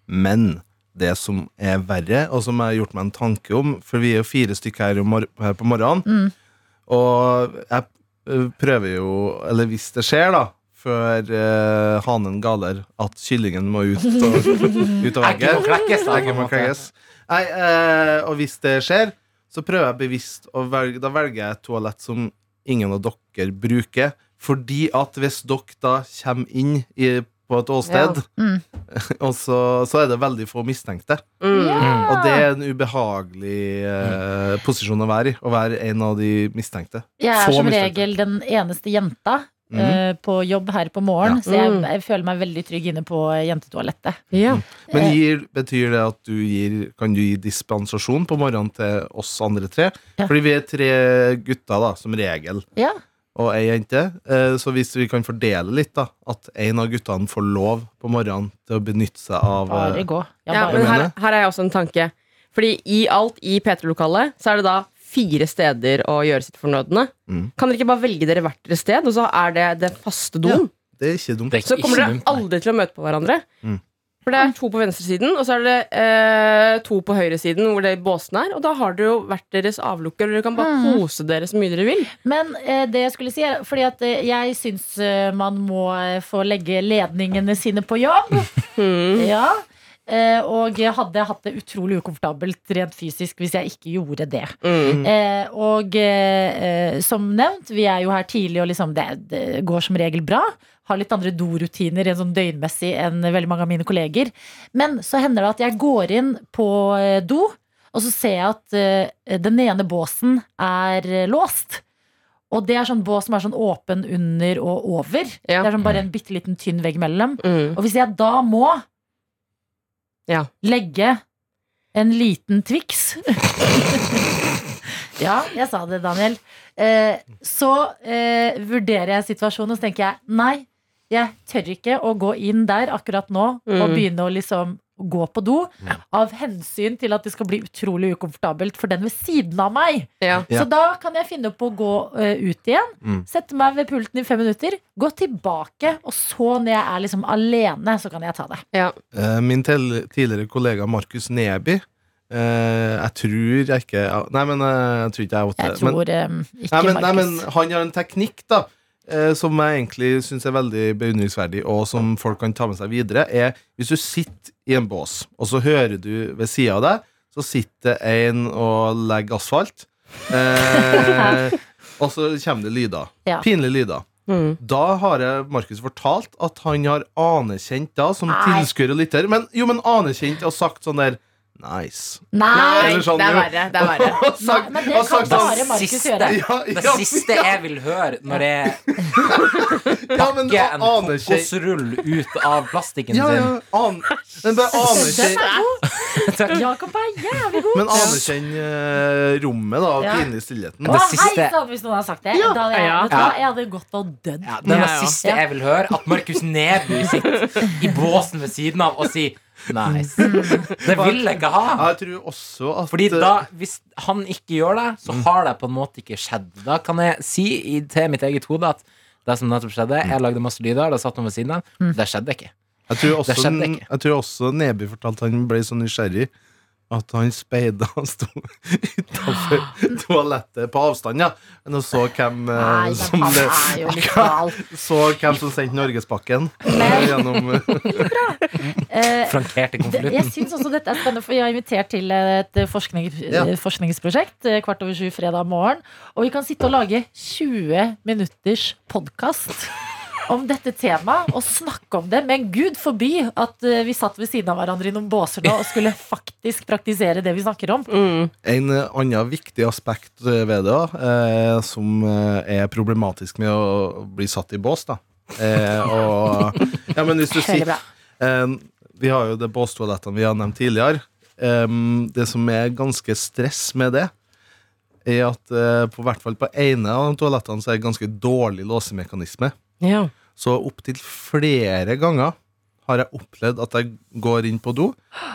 E: Men det som er verre, og som jeg har gjort meg en tanke om For vi er jo fire stykker her, om mor her på morgenen. Og jeg eh, prøver jo, eller hvis det skjer, da, før eh, hanen galer, at kyllingen må ut, og, ut av
D: Egget må
E: egget.
D: klekkes, da,
E: Egget
D: på en
E: må
D: måte.
E: klekkes. Nei, eh, og hvis det skjer, så prøver jeg bevisst å velge Da velger jeg et toalett som ingen av dere bruker. Fordi at hvis dere da kommer inn i, på et åsted,
B: Mm.
E: og så, så er det veldig få mistenkte.
C: Mm.
E: Og det er en ubehagelig eh, posisjon å være i. Å være en av de mistenkte.
B: Jeg er
E: Få
B: som
E: mistenkte.
B: regel den eneste jenta
E: Mhm.
B: eh, på jobb her på morgen,
E: Ja.
B: så jeg,
C: Mm.
B: jeg føler meg veldig trygg inne på eh, jentetoalettet.
C: Ja.
E: Men gir, betyr det at du gir, kan du gi dispensasjon på morgenen til oss andre tre?
B: Ja.
E: Fordi vi er tre gutter, da, som regel.
B: Ja.
E: Og ei jente. Eh, Så hvis vi kan fordele litt, da, at en av guttene får lov på morgenen til å benytte seg av eh,
B: Bare gå. Ja,
C: Ja,
B: bare
C: men
E: Jeg
C: her,
E: mener.
C: her er jeg også en tanke. Fordi i alt i P3-lokalet så er det da fire steder å gjøre sitt fornødne.
E: Mm.
C: Kan dere ikke bare velge dere hvert deres sted, og så er det den faste doen?
E: Det er ikke dumt.
D: Det er
C: Så
D: ikke
C: kommer dere
D: dumt, nei.
C: aldri til å møte på hverandre.
E: Mm.
C: For det er to på venstresiden, og så er det eh, to på høyresiden hvor det båsen er. Og da har dere jo hvert deres avlukke, og dere kan bare
B: Mm.
C: kose dere så mye dere vil.
B: Men eh, det jeg skulle si er Fordi at eh, jeg syns eh, man må eh, få legge ledningene sine på jobb.
C: Mm.
B: Ja. Eh, og jeg hadde hatt det utrolig ukomfortabelt rent fysisk hvis jeg ikke gjorde det.
C: Mm.
B: Eh, og eh, eh, som nevnt, vi er jo her tidlig, og liksom det, det går som regel bra. Har litt andre dorutiner enn sånn døgnmessig enn veldig mange av mine kolleger. Men så hender det at jeg går inn på eh, do, og så ser jeg at eh, den ene båsen er eh, låst. Og det er sånn bås som er sånn åpen under og over.
C: Ja.
B: Det er sånn bare en bitte liten tynn vegg imellom.
C: Mm.
B: Og hvis jeg da må
C: Ja.
B: legge en liten Twix Ja, jeg sa det, Daniel. Eh, så eh, vurderer jeg situasjonen, og så tenker jeg nei, jeg tør ikke å gå inn der akkurat nå og
C: Mm.
B: begynne å liksom gå på do av hensyn til at det skal bli utrolig ukomfortabelt for den ved siden av meg.
C: Ja.
E: Ja.
B: Så da kan jeg finne på å gå eh, ut igjen,
E: Mm.
B: sette meg ved pulten i fem minutter, gå tilbake, og så når jeg er liksom alene, så kan jeg ta det.
E: Eh, Min tel- tidligere kollega Markus Neby eh, Jeg tror jeg ikke Nei, men eh, jeg tror ikke jeg åtte
B: Jeg tror eh, ikke
E: nei, men, nei, men
B: Markus.
E: han har en teknikk da eh, som jeg egentlig syns er veldig beundringsverdig, og som folk kan ta med seg videre, er hvis du sitter i en bås, og så hører du ved sida av deg, så sitter en og legger asfalt, eh, og så kommer det lyder.
B: Ja.
E: Pinlige lyder.
C: Mm.
E: Da har jeg Markus fortalt at han har anerkjent da, som
B: Nei.
E: tilskuer og lytter, men, jo, men anerkjent og sagt sånn der Nice.
B: Nei!
E: Eller sånn,
F: det er
E: jo.
F: verre. Det er verre.
E: Og sagt-
B: Nei, men det
E: og
B: kan
E: sagt
B: bare
E: sånn-
B: Markus
D: siste,
B: gjøre.
E: Ja,
D: det
E: ja,
D: siste jeg vil høre når jeg
E: ja, men
D: pakker en
E: aner ikke
D: kokosrull ut av plastikken
E: ja, ja, an, Men bare aner ikke
B: Jakob er jævlig god.
E: Men anerkjenn eh, rommet, da, og
B: Ja.
E: pinlig stillheten.
B: Å,
D: Det
B: hei
D: siste-
B: sann, hvis noen hadde sagt det. Da hadde jeg,
C: Ja.
B: vet du, hva, jeg hadde gått og dødd.
D: Ja, det er det
C: Ja, ja.
D: siste jeg vil høre. At Markus Neby sitter i båsen ved siden av og sier nice. Det vil jeg ikke ha.
E: Jeg tror også at
D: Fordi
E: eh,
D: da, hvis han ikke gjør det, så
E: Mm.
D: har det på en måte ikke skjedd. Da kan jeg si i, til mitt eget hode at det som nettopp skjedde,
E: Mm.
D: jeg lagde masse lyder, da satt noen ved siden av, det skjedde ikke.
E: Jeg tror
D: Det
E: også,
D: skjedde ikke.
E: jeg tror også Neby fortalte han ble så nysgjerrig at han speida Han sto utenfor toalettet på avstand, ja. Men og så hvem eh,
B: Nei, men
E: som,
B: han er jo litt gal.
E: så hvem som sendte Norgespakken.
B: Men-
E: Gjennom eh,
B: Eh,
D: Frankerte
B: Det- Jeg
D: konvolutten.
B: syns også dette er spennende, for jeg har invitert til et forskning,
E: Ja.
B: forskningsprosjekt eh, kvart over sju fredag morgen. Og vi kan sitte og lage 20 minutters podkast om dette temaet og snakke om det. Men gud forby at eh, vi satt ved siden av hverandre i noen båser nå og skulle faktisk praktisere det vi snakker om.
C: Mm.
E: En eh, annen viktig aspekt eh, ved det, da, eh, som eh, er problematisk med å bli satt i bås, da. Eh, og, ja, men hvis du
B: Veldig
E: sitter
B: bra.
E: Eh, Vi har jo det båstoalettene vi har nevnt tidligere. Em, det som er ganske stress med det, er at eh, på hvert fall på ene av toalettene så er det ganske dårlig låsemekanisme.
C: Ja.
E: Så opptil flere ganger har jeg opplevd at jeg går inn på do,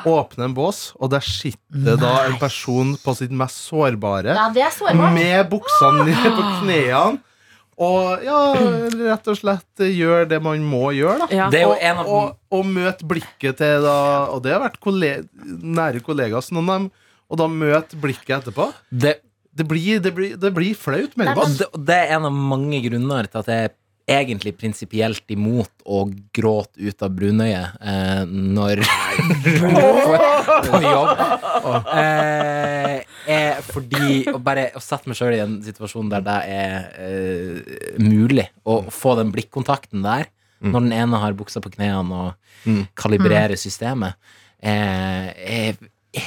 E: åpner en bås, og der sitter da en person på sitt mest sårbare
B: Ja, det er sårbart. Ah.
E: med buksene ned på knærne. Og ja, rett og slett eh, gjør det man må gjøre, da.
C: Ja.
D: Det er jo
E: Og-
D: en av
E: og, og møte blikket til da Og det har vært kolle- nære kollegaer, så noen av dem. Og da møte blikket etterpå.
D: det,
E: Det blir, det blir, det blir flaut mellom
D: og
E: oss.
D: det, og det er en av mange grunner til at jeg egentlig prinsipielt imot å gråte ut av brunøyet eh, når på jobb. Eh, er fordi å bare å sette meg sjøl i en situasjon der det er eh, mulig å få den blikkontakten der, når den ene har buksa på knærne og
E: Mm.
D: kalibrerer systemet, eh, er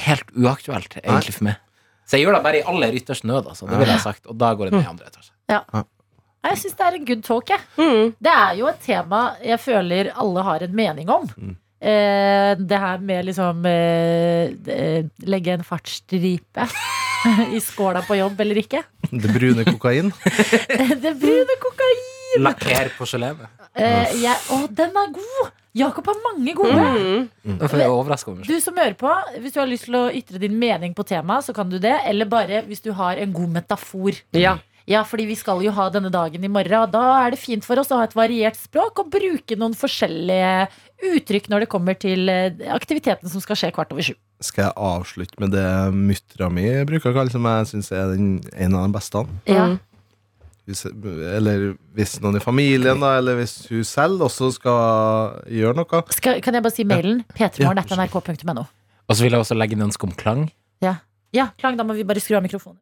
D: helt uaktuelt egentlig for meg. Så jeg gjør det bare i aller ytterste nød, altså. Det ville jeg sagt. Og da går jeg ned i andre etasje.
B: Nei, Jeg syns det er en good talk, jeg.
C: Mm.
B: Det er jo et tema jeg føler alle har en mening om. Eh, det her med liksom eh, eh, legge en fartsstripe i skåla på jobb eller ikke.
E: Det brune kokain.
B: det brune kokain!
D: Lakker porselenet.
B: Eh, jeg, å, den er god! Jakob har mange gode.
D: Derfor er jeg overraska over meg selv.
B: Du som hører på, hvis du har lyst til å ytre din mening på temaet, så kan du det. Eller bare hvis du har en god metafor.
C: Ja.
B: Ja, fordi vi skal jo ha denne dagen i morgen, og da er det fint for oss å ha et variert språk og bruke noen forskjellige uttrykk når det kommer til eh, aktiviteten som skal skje kvart over sju.
E: Skal jeg avslutte med det muttera mi bruker å kalle, som jeg syns er den, en av de beste?
B: Ja.
C: Mm.
E: Hvis, eller hvis noen i familien, da, eller hvis hun selv også skal gjøre noe.
B: Skal, kan jeg bare si mailen? p3morgen.nrk.no.
D: Og så vil jeg også legge inn ønske om klang.
B: Ja, Klang, da må vi bare skru av mikrofonen.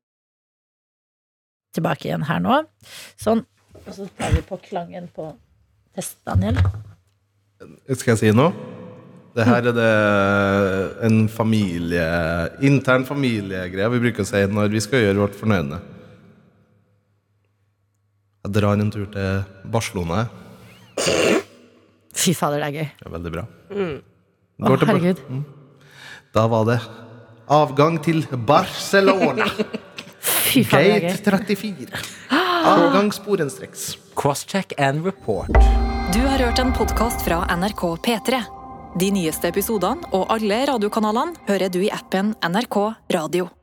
B: Tilbake igjen her nå. Sånn. Og så tar vi på klangen på test, Daniel.
E: Skal jeg si noe? Det her er det en familie intern familiegreie vi bruker å si når vi skal gjøre vårt fornøyende. Jeg drar en tur til Barcelona.
B: Fy fader, det er gøy.
E: Det er veldig bra.
B: Mm. Å,
E: Går til Bar-
B: herregud.
E: Da var det avgang til Barcelona.
B: Fy fader, det
E: Gate
B: er gøy.
E: 34. Avgang sporenstreks.
D: Crosscheck and report.
A: Du har hørt en podkast fra NRK P3. De nyeste episodene og alle radiokanalene hører du i appen NRK Radio.